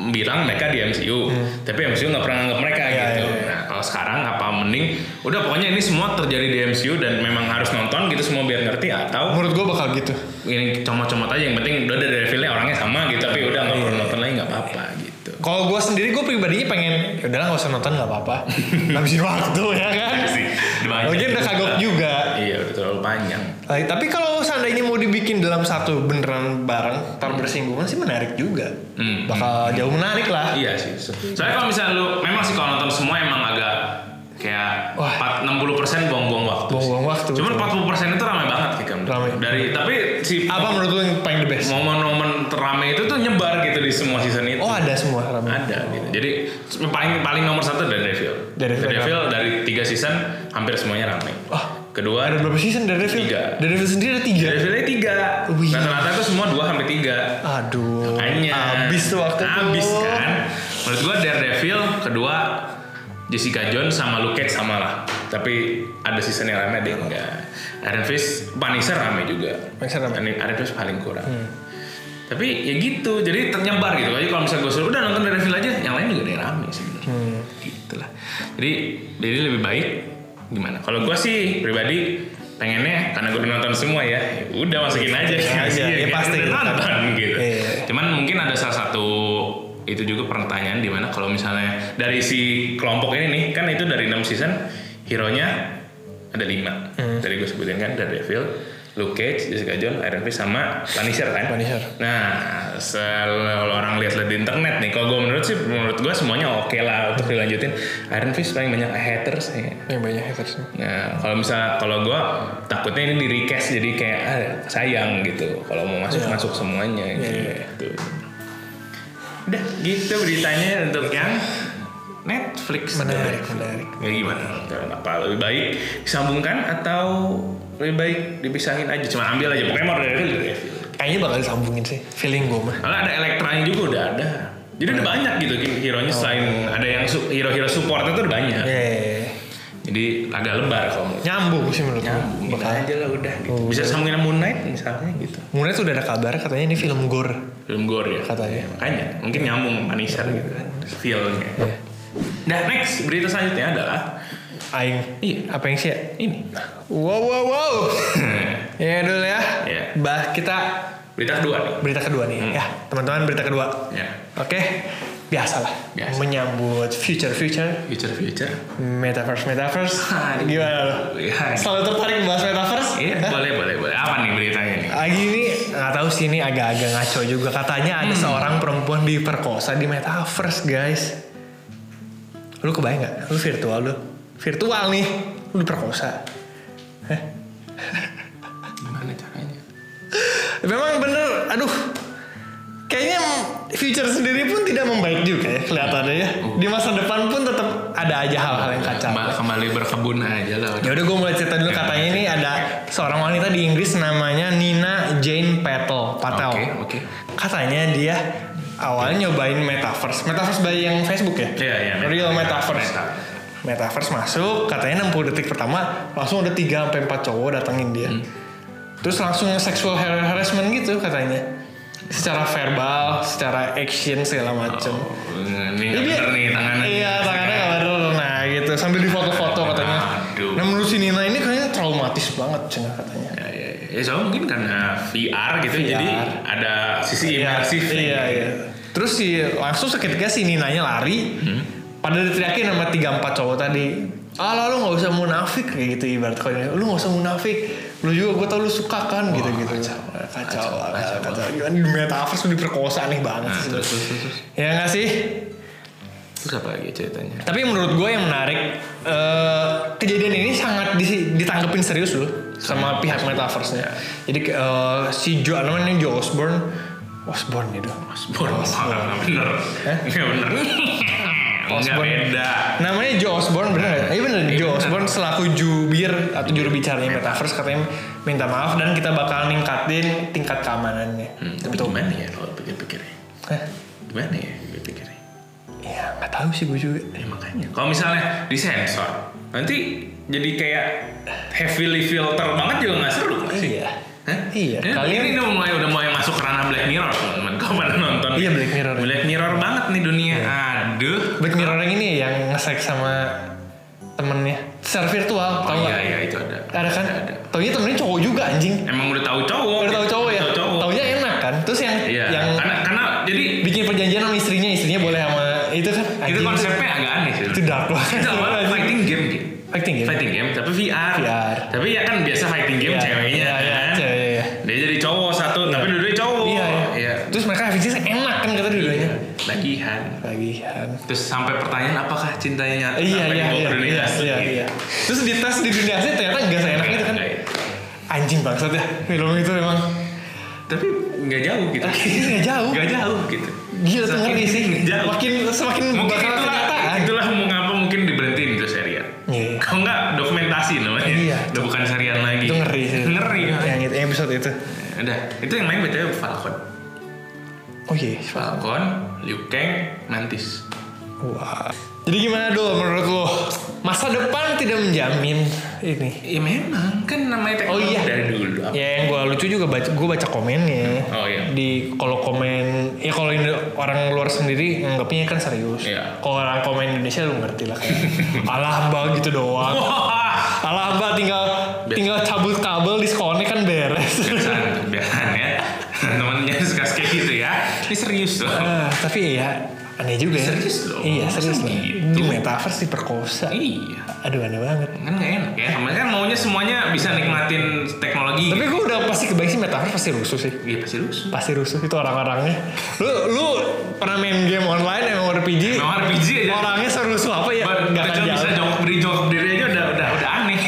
B: bilang mereka di MCU, tapi MCU nggak pernah nganggap mereka
A: Hmm. Iya, iya,
B: gitu.
A: iya.
B: Nah kalau sekarang apa mending udah pokoknya ini semua terjadi di MCU dan memang harus nonton gitu semua biar ngerti atau
A: Menurut gue bakal gitu.
B: ini comot-comot aja yang penting udah dari feel orangnya sama gitu tapi udah nggak
A: Iya.
B: perlu nonton lagi nggak apa-apa gitu.
A: Kalau gue sendiri gue pribadinya pengen ya udahlah nggak usah nonton nggak apa-apa. Habisin waktu ya kan.
B: Iya Sih, banyak.
A: Lagian udah kagok juga.
B: Iya udah terlalu panjang.
A: Lah, tapi kalau seandainya mau dibikin dalam satu beneran bareng, tar bersinggungan sih menarik juga.
B: Hmm.
A: Bakal jauh menarik lah.
B: Iya sih. so- Soalnya kalau misalnya lu memang sih kalau nonton semua emang agak kayak
A: Wah.
B: 4, 60% buang-buang waktu. sih.
A: Buang-buang waktu,
B: Cuman
A: betul.
B: 40% itu ramai banget gitu.
A: Ramai.
B: Dari tapi si
A: Apa menurut lu yang paling the best?
B: momen-momen terame itu tuh nyebar gitu di semua season itu.
A: Oh ada semua ramai.
B: Ada gitu. Jadi paling paling nomor satu Daredevil.
A: Daredevil.
B: Daredevil dari tiga season hampir semuanya ramai.
A: Wah.
B: Kedua
A: Ada berapa season Daredevil?
B: Tiga. Iya.
A: Daredevil sendiri ada tiga.
B: Daredevilnya tiga.
A: Iya. Wih.
B: Rata-rata tuh semua dua sampai tiga.
A: Aduh.
B: Makanya.
A: Abis tuh waktu itu.
B: Abis kan. Menurut gua Daredevil kedua Jessica Jones sama Luke Cage sama lah. Tapi ada season yang rame dia enggak. Iron Fist, Punisher rame juga.
A: Punisher rame. Hmm.
B: Ini Iron Fist paling kurang. Tapi ya gitu, jadi ternyebar gitu. Jadi kalau misalnya gue suruh udah nonton Daredevil aja, yang lain juga ada yang rame sebenarnya.
A: Hmm.
B: Gitu lah. Jadi jadi lebih baik gimana? Kalau gue sih pribadi pengennya karena gue udah nonton semua ya, ya udah masukin aja
A: Masukin aja, ya
B: kan?
A: pasti.
B: Udah nonton gitu.
A: Iya.
B: Cuman mungkin ada salah satu itu juga pertanyaan di mana kalau misalnya dari si kelompok ini nih kan itu dari 6 season hero-nya ada 5. Dari gue sebutin kan Daredevil, Luke Cage, Jessica Jones, Iron Fist sama Punisher kan.
A: Punisher.
B: Nah, kalau orang lihat-lihat di internet nih, kalau gue menurut sih menurut gue semuanya oke lah untuk dilanjutin. Iron Fist paling banyak haters ya.
A: Yang banyak hatersnya.
B: Nah, kalau misal kalau gue takutnya ini di recast jadi kayak ah, sayang gitu. Kalau mau masuk masuk semuanya gitu. Udah gitu beritanya untuk yang Netflix.
A: Menarik, menarik.
B: Ya gimana? Apa lebih baik disambungkan atau lebih baik dipisahin aja? Cuma ambil aja pokoknya mau dari Devil, dari Devil.
A: Kayaknya bakal disambungin sih. Feeling gue mah.
B: Karena ya. ada elektranya juga udah ada. Jadi udah banyak gitu hero-nya selain ada yang su- hero-hero support itu udah banyak.
A: Eh,
B: Jadi agak lebar kalau menurut
A: Nyambung ya. sih menurut gue.
B: nyambung
A: Bakal.
B: Ya, aja lah Iya. udah gitu. Bisa sambungin sama Moon Knight misalnya gitu.
A: Mulai tuh udah ada kabar katanya ini film gore
B: Film gore ya.
A: katanya.
B: Makanya mungkin nyambung sama Punisher gitu kan. Feel-nya.
A: Ya.
B: Nah, next berita selanjutnya adalah
A: Aing.
B: Iya.
A: Apa yang sih? ya?
B: ini.
A: Wow wow wow. ya dulu ya.
B: Iya.
A: Bah kita
B: berita kedua nih.
A: berita kedua nih ya teman-teman berita kedua.
B: Ya.
A: Oke. Biasalah.
B: Biasa.
A: Menyambut future future
B: Future future.
A: metaverse metaverse.
B: Hai.
A: Gimana lo?
B: Hai.
A: Selalu tertarik bahas metaverse?
B: Iya,
A: Hah?
B: boleh boleh boleh. Apa nih beritanya nih?
A: Lagi ini nggak tahu sih ini agak-agak ngaco juga katanya ada seorang perempuan diperkosa di metaverse guys. lu kebayang nggak lu virtual lu virtual nih lu diperkosa Heh.
B: Gimana caranya?
A: memang bener aduh kayaknya future sendiri pun tidak membaik juga ya kelihatannya ya di masa depan pun tetap ada aja hal-hal yang kacau
B: Kembali, kembali berkebun aja lah.
A: ya udah gue mulai cerita dulu katanya ini ada seorang wanita di Inggris namanya Nina Jane Patel Patel
B: Oke, oke.
A: katanya dia awalnya nyobain metaverse metaverse by yang Facebook ya
B: Iya, iya, meta-
A: real metaverse
B: meta.
A: metaverse masuk katanya 60 detik pertama langsung ada 3 sampai 4 cowok datangin dia
B: Hmm.
A: terus langsung sexual har- harassment gitu katanya secara verbal secara action segala macam
B: Ini nggak
A: Jadi
B: Oh, bener
A: dia-
B: nih tangannya.
A: Iya, tangannya nggak bener. Nah, gitu. Sambil difoto-foto katanya.
B: Aduh.
A: Nah, menurut si Nina ini kayaknya traumatis banget, cengah katanya.
B: Ya, ya, ya. ya soalnya mungkin karena VR gitu
A: VR.
B: jadi ada sisi imersif
A: Iya, iya. Terus si langsung seketika si Ninanya lari.
B: Hmm.
A: Pada diteriakin sama 3-4 cowok tadi. Ah lah, lu gak usah munafik kayak gitu ibarat kalau dia, Lu gak usah munafik. Lu juga gue tau lu suka kan gitu-gitu. Kacau, kacau, kacau, kacau. Gimana di metaverse lu diperkosa aneh banget
B: Nah,
A: sih.
B: terus, terus, terus, terus.
A: Ya gak sih?
B: Terus apa lagi ceritanya?
A: Tapi menurut gue yang menarik eh, kejadian ini sangat di- ditanggepin serius loh sama pihak metaverse-nya. Jadi eh, si Joe namanya Joe Osborne, Osborne ya, itu.
B: Osborne nggak bener nggak bener nggak
A: Osborne.
B: beda
A: Namanya Joe Osborne bener nggak? Iya bener. Joe Osborne selaku jubir atau juru bicaranya metaverse katanya minta maaf dan kita bakal ningkatin tingkat keamanannya.
B: tapi
A: Untuk-
B: gimana ya kalau pikir-pikir ya?
A: Hah?
B: gimana ya pikir-pikir ya?
A: Iya nggak tahu sih gue juga.
B: ya makanya kalau misalnya disensor nanti jadi kayak heavily filter banget juga nggak seru nggak sih
A: Iya.
B: Hah?
A: Iya,
B: Ini,
A: kalian-
B: ini udah mulai udah mulai masuk ke ranah Black Mirror, teman-teman. Kau pada nonton?
A: Iya, Black Mirror. Iya.
B: Black Mirror banget nih dunia. Aduh.
A: Black Mirror yang ini ya, yang nge-sex sama temennya secara virtual,
B: Oh
A: tau nggak?
B: iya iya itu ada.
A: Ada kan?
B: Ada.
A: Taunya temennya cowok juga anjing.
B: Emang udah tahu cowok.
A: Baru tahu cowok ya.
B: Tahu cowok.
A: Taunya enak kan. Terus yang
B: Iya.
A: yang
B: Karena karena jadi
A: bikin perjanjian sama istrinya, istrinya boleh sama itu kan.
B: itu
A: anjing.
B: konsepnya agak aneh sih.
A: itu dark banget. ya?
B: Itu apa? Fighting game gitu.
A: Fighting game.
B: Fighting game tapi VR.
A: VR.
B: Tapi ya kan biasa fighting game
A: Iya,
B: ceweknya
A: iya, iya,
B: kan.
A: cewek, iya.
B: Dia jadi cowok satu tapi dua-duanya cowok.
A: Iya, iya. Terus mereka efisiensi enak kan kata dua-duanya.
B: Lagihan.
A: Tagihan.
B: Terus sampai pertanyaan apakah cintanya nyata
A: Iya
B: sampai
A: iya
B: dibawa ke
A: iya
B: dunia
A: iya
B: asli
A: iya
B: gitu.
A: iya. Terus di tes di dunia asli ternyata nggak seenak itu kan.
B: Nggak, ya.
A: Anjing bangsat ya film itu memang.
B: Tapi nggak jauh gitu.
A: Ah, iya, Nggak jauh.
B: Nggak jauh gitu.
A: Gila tuh
B: Saking
A: ngeri sih.
B: nggak jauh.
A: Makin semakin
B: Mungkin
A: bakal
B: itulah,
A: kenyataan.
B: itulah mengapa mungkin diberhentiin itu serial.
A: Iya, iya.
B: Kalau nggak dokumentasi namanya.
A: Iya.
B: Udah bukan serial lagi.
A: Itu Iya, ngeri ya. sih. Iya,
B: Ngeri.
A: Yang itu episode itu.
B: Ya, Udah, itu yang main btw Falcon.
A: Oh iya.
B: Falcon, Liu Kang, Mantis.
A: Wah. Jadi gimana dulu menurut lo? Masa depan tidak menjamin ini.
B: Ya memang kan namanya
A: Oh
B: teknologi
A: iya.
B: dari dulu.
A: Ya yang gue lucu juga baca gue baca komennya.
B: Oh, iya.
A: Di kalau komen ya kalau Indo- orang luar sendiri nganggapnya kan serius.
B: Iya.
A: Kalau orang komen Indonesia lu ngerti lah kayak alah mbak gitu doang.
B: Wah,
A: Alah mbak tinggal
B: Oh. Biasa.
A: tinggal cabut kabel diskonnya kan beres.
B: biasaan tuh, biasaan ya. Teman-temannya suka kayak gitu ya. Ini serius loh.
A: Ah, tapi ya aneh juga ya.
B: Serius loh.
A: Iya serius
B: Masa
A: loh.
B: gitu?
A: Di metaverse diperkosa.
B: Iya.
A: Aduh aneh banget.
B: Kan nggak enak ya. Kemarin kan maunya semuanya bisa nikmatin teknologi.
A: Tapi gue udah pasti kebayang sih metaverse pasti rusuh sih.
B: Iya pasti lusuh.
A: pasti rusuh itu orang-orangnya. Lu lu pernah main game online emang RPG?
B: Memang RPG aja.
A: Orangnya serusuh apa ya?
B: Ba-
A: Gak akan
B: Kecil bisa
A: jauh.
B: jongkok berdiri jongkok berdiri aja udah udah udah aneh.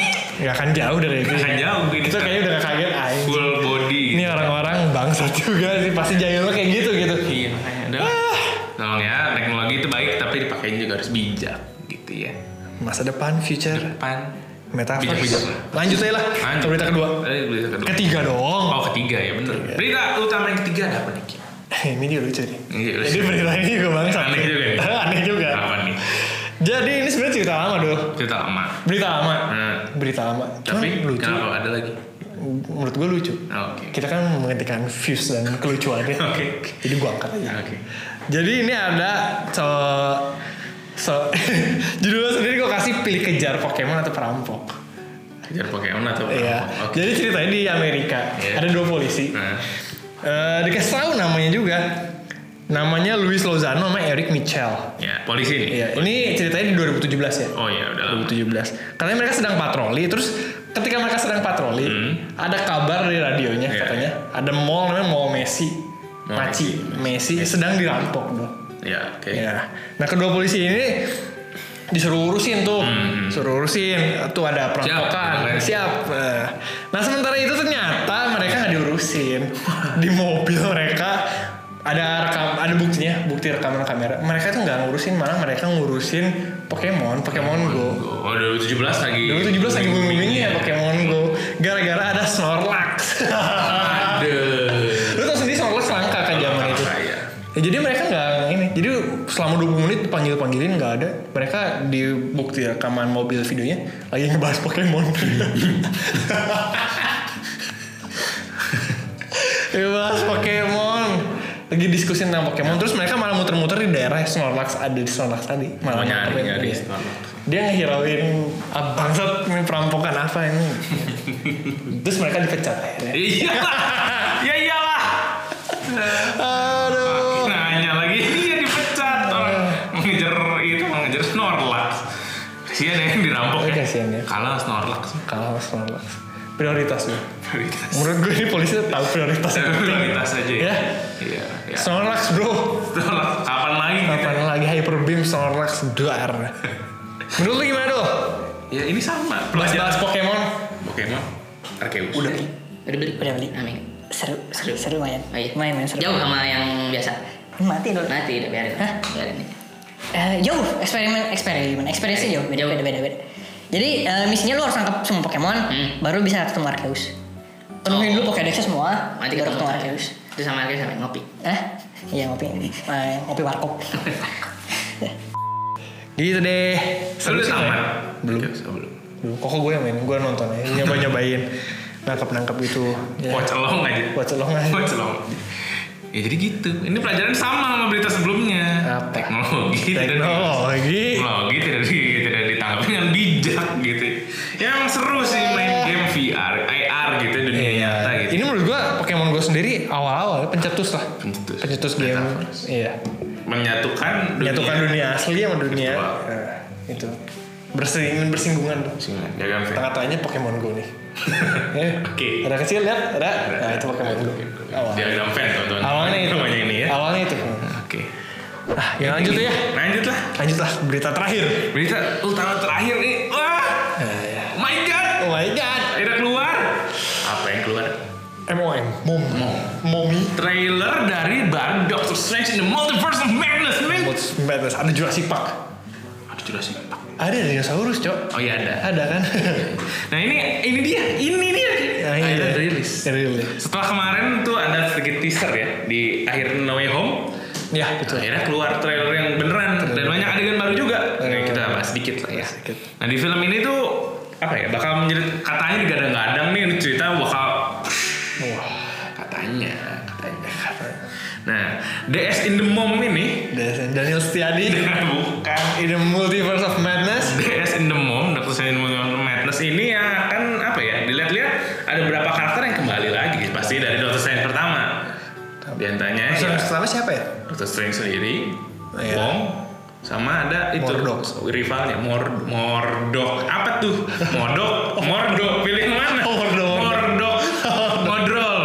A: Gak akan jauh dari itu.
B: Gak akan jauh ini.
A: Itu kayaknya udah gak kaget aja.
B: full body.
A: Ini orang-orang bangsat juga sih pasti jahilnya kayak gitu gitu.
B: Iya makanya udah. Tolong ya teknologi itu baik tapi dipakein juga harus bijak gitu ya.
A: Masa depan future
B: Depan. Bijak-bijak
A: metaverse.
B: lah.
A: Nah, Lanjut aja lah. Ke berita kedua.
B: Eh, berita kedua.
A: Ketiga dong.
B: Oh ketiga ya bener. Berita utama yang ketiga ada apa nih? Ki?
A: ini juga lucu nih.
B: Ini juga lucu.
A: Jadi berita ini juga bangsat. ya.
B: Aneh juga ya. Ah. nih.
A: Aneh juga.
B: Apa nih?
A: Jadi ini sebenarnya cerita lama dulu.
B: Cerita lama.
A: Berita lama.
B: Hmm.
A: Berita lama. Cuman
B: Tapi
A: lucu.
B: kenapa ada lagi?
A: Menurut gue lucu.
B: Oh, Oke.
A: kita kan menghentikan views dan kelucuannya.
B: Oke.
A: Jadi gua angkat aja.
B: Oke.
A: Jadi ini ada so, so judulnya sendiri gua kasih pilih kejar Pokemon atau perampok.
B: Kejar Pokemon atau apa?
A: Iya.
B: Oke.
A: Jadi ceritanya di Amerika
B: Iya.
A: ada dua polisi.
B: Nah,
A: Eh, dikasih tahu namanya juga. Namanya Luis Lozano sama Eric Mitchell.
B: ya polisi nih.
A: Iya, ini ceritanya di 2017 ya.
B: Oh ya udah lama.
A: 2017. Katanya mereka sedang patroli, terus ketika mereka sedang patroli, ada kabar dari radionya
B: Hmm. Iya.
A: katanya ada mall namanya Mall Messi.
B: Mall
A: Maci, Messi, sedang dirampok dong.
B: Ya oke.
A: Ya. Nah, kedua polisi ini disuruh urusin tuh suruh urusin tuh ada perampokan siap,
B: Siap.
A: Nah, nah sementara itu ternyata mereka nggak diurusin di mobil mereka ada rekam ada buktinya bukti rekaman kamera mereka tuh nggak ngurusin malah mereka ngurusin Pokemon Pokemon Go
B: Oh, 2017 lagi.
A: dulu 17 lagi booming ya Pokemon Go gara-gara ada Snorlax
B: Aduh.
A: lu tau sendiri Snorlax langka kan zaman itu
B: Iya.
A: Ya, jadi mereka nggak ini. Jadi selama 20 menit panggil panggilin nggak ada. Mereka di bukti rekaman mobil videonya lagi ngebahas Pokemon. ngebahas Pokemon. Lagi diskusi tentang Pokemon. Terus mereka malah muter-muter di daerah Snorlax ada di Snorlax tadi. Malah
B: Mau nyari,
A: muterin.
B: nyari
A: Iya.
B: Snorlax.
A: Dia ngehirauin "Ah, bangsat ini perampokan apa ini. Terus mereka dipecat akhirnya.
B: Iya. Ya iyalah.
A: Aduh.
B: Nanya lagi dia dipecat orang mengejar itu mengejar Snorlax. Kasihan ya yang dirampok ya.
A: Kasihan ya.
B: Kalah Snorlax.
A: kalah sama Snorlax prioritas ya
B: Prioritas.
A: menurut gue ini polisi tahu prioritas yang penting
B: Prioritas aja ya.
A: Ya.
B: Iya. ya.
A: Snorlax bro
B: Snorlax kapan lagi? gitu?
A: kapan lagi hyper beam Snorlax dar menurut lu gimana dong
B: Ya ini sama.
A: bahas-bahas
B: Pelajaran
A: Pokemon
B: Pokemon Arceus.
C: Udah beli. Udah beli. Udah beli. Amin.
D: seru seru seru lumayan
C: Oh iya.
D: lumayan lumayan seru
C: Jauh sama yang biasa.
D: mati dong
C: Mati udah biarin.
D: Hah?
C: Biarin nih.
D: Eh, jauh eksperimen eksperimen eksperimennya jauh beda beda beda beda jadi eh, misinya lu harus nangkep semua Pokemon
C: Hmm.
D: baru bisa ketemu Arceus penuhin dulu Pokédexnya semua
C: Nanti
D: baru
C: ketemu
D: ketemu Arceus
C: Itu sama Arceus sampai ngopi.
D: Hah? iya ngopi Eh, ngopi warkop
A: gitu deh
B: Lu udah
A: sih,
B: tamat?
A: ya? belum
B: Arceus, oh, belum.
A: belum kok gue yang main gue nonton ya nyoba-nyobain nangkap-nangkap itu ya.
B: Wah celong aja.
A: Wah, celong aja.
B: Wah, celong. Ya jadi gitu. Ini pelajaran sama sama berita sebelumnya.
A: Apa?
B: Teknologi. tidak di-
A: teknologi
B: Teknologi tidak di, tidak ditanggapi dengan bijak gitu. Ya emang seru sih main game VR, AR gitu dunia nyata gitu.
A: Iya, ini menurut gue Pokemon gue sendiri awal-awal ya, pencetus lah
B: Pencetus.
A: pencetus game iya
B: menyatukan dunia.
A: menyatukan dunia asli sama dunia
B: Iya.
A: eh,
B: Virtual.
A: itu bersinggungan bersinggungan
B: Singa, Jaga VR.
A: tengah-tengahnya Pokemon Go nih Ya,
B: Oke.
A: ada kecil lihat ada nah itu Pokemon Go awal
B: Gitu, Diagram fan tuan-tuan.
A: awalnya itu
B: Namanya ini ya.
A: awalnya itu
B: Oke.
A: ah ya lanjut ya
B: Lanjut lah.
A: lanjut lah berita terakhir
B: Berita utama terakhir nih. Wah.
A: Iya,
B: My God.
A: oh my god
B: Akhirnya keluar. Apa yang keluar?
A: MOM mom momi
B: trailer dari baru Doctor Strange in the Multiverse of Madness, man.
A: What's Madness ada Jurassic Park
B: Ada Jurassic Park.
A: ada dinosaurus cok
B: Oh iya ada.
A: ada kan
B: Nah ini ini dia, ini dia.
A: Nah, ini
B: Akhirnya
A: dia.
B: rilis.
A: rilis
B: Setelah kemarin tuh ada sedikit teaser ya di akhir No Way Home.
A: ya betul
B: Akhirnya keluar trailer yang beneran dan banyak adegan baru juga. Nah, kita bahas sedikit lah ya.
A: Sedikit.
B: Nah di film ini tuh apa ya bakal menjadi katanya digadang-gadang nih ini cerita bakal
A: wah
B: katanya katanya katanya. Nah DS in the Mom ini
A: Daniel Setiadi
B: bukan
A: in the multiverse of madness
B: DS in the Mom, Doctor Strange in the Multiverse of Madness ini ya kan apa ya? Dilihat-lihat ada beberapa karakter yang kembali lagi pasti dari Doctor Strange pertama. Di antaranya
A: Terus
B: ya,
A: yang pertama siapa ya?
B: Doctor Strange sendiri,
A: Iya.
B: Wong, sama ada itu
A: Mordok.
B: rivalnya Mor Mordok apa tuh Mordok Mordok pilih yang mana
A: Mordok.
B: Mordok Modrol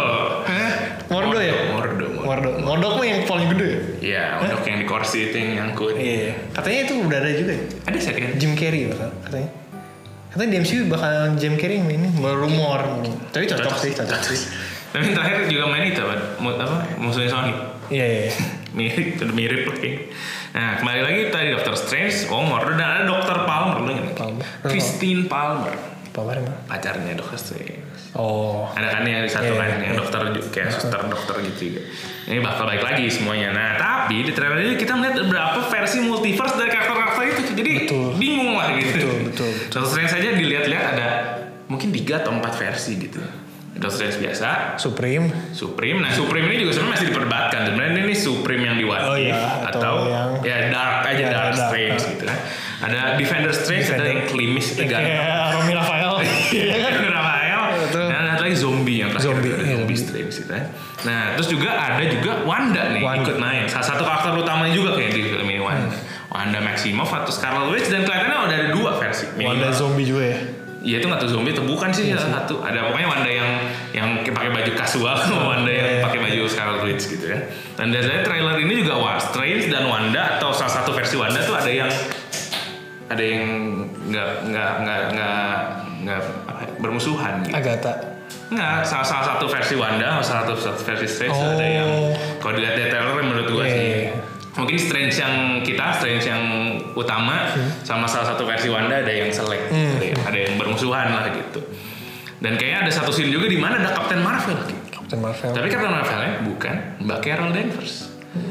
A: Mordo ya?
B: Mordo Mordo
A: Mordo. Mordok mah yang paling gede ya?
B: Iya, Mordok yang di kursi itu yang nyangkut
A: Iya. Katanya itu udah ada juga ya?
B: ada serian
A: Jim Carrey bakal katanya. Katanya di MCU bakal Jim Carrey yang ini berumor. Tapi cocok sih, cocok sih.
B: Tapi yang terakhir juga main itu apa? Mu- apa? Musuhnya Sony.
A: Iya, iya. iya.
B: Mirip, udah mirip lagi. Nah, kembali lagi tadi Dr. Strange, Wong Mordo, dan ada Dr. Palmer lu ingat?
A: Palmer.
B: Christine Palmer,
A: Apa kabar emang?
B: pacarnya Dr. Strange.
A: Oh.
B: Ada kan yang satu
A: Iya,
B: kan
A: iya,
B: yang
A: iya.
B: dokter juga, kayak suster dokter gitu juga. Ini bakal balik lagi semuanya. Nah, tapi di trailer ini kita melihat beberapa versi multiverse dari karakter-karakter itu. Jadi
A: Betul.
B: bingung lah gitu.
A: Betul, betul, betul.
B: Dr. Strange saja dilihat-lihat ada mungkin 3 atau 4 versi gitu. Dr. Strange biasa,
A: Supreme.
B: Supreme. Nah, Supreme ini juga sebenarnya masih diperdebatkan. Sebenarnya ini Supreme yang di What
A: Oh,
B: If
A: iya.
B: atau,
A: Atau yang-
B: ya Dark aja
A: Iya,
B: Dark
A: Dark.
B: Strange gitu kan. Ada Defender Strange, ada
A: Defender.
B: yang klimis tegang.
A: Kayak Romy Rafael. Iya kan?
B: Raphael.
A: Betul.
B: Dan ada lagi zombie yang terakhir
A: Zombie, iya,
B: ada zombie
A: zombie.
B: Strange gitu kan. Nah, terus juga ada juga Wanda nih
A: Wanda. Hmm.
B: ikut naik. Salah satu karakter utamanya juga kayak di film ini Wanda. Wanda Maximoff atau Scarlet Witch dan kelihatannya udah ada dua versi. minimal.
A: Wanda zombie juga ya.
B: Iya itu nggak tahu zombie atau bukan sih
A: Iya
B: salah satu. Ada pokoknya Wanda yang yang pakai baju kasual, Wanda yang
A: Iya.
B: pakai baju Scarlet Witch gitu ya. Dan dari trailer ini juga wah, Strange dan Wanda atau salah satu versi Wanda tuh ada yang ada yang nggak nggak nggak nggak nggak apa ya, bermusuhan gitu.
A: Agatha.
B: Nggak, Nah, salah, salah satu versi Wanda, salah satu, satu versi Strange
A: Oh.
B: ada yang kalau dilihat dari trailer menurut gue
A: Iya,
B: sih.
A: iya, iya.
B: Mungkin Strange yang kita, Strange yang utama
A: Hmm.
B: sama salah satu versi Wanda ada yang selek, ada, yang, ada yang bermusuhan lah gitu. Dan kayaknya ada satu scene juga di mana ada Captain Marvel. Gitu.
A: Captain Marvel.
B: Tapi Captain Marvelnya bukan Mbak Carol Danvers.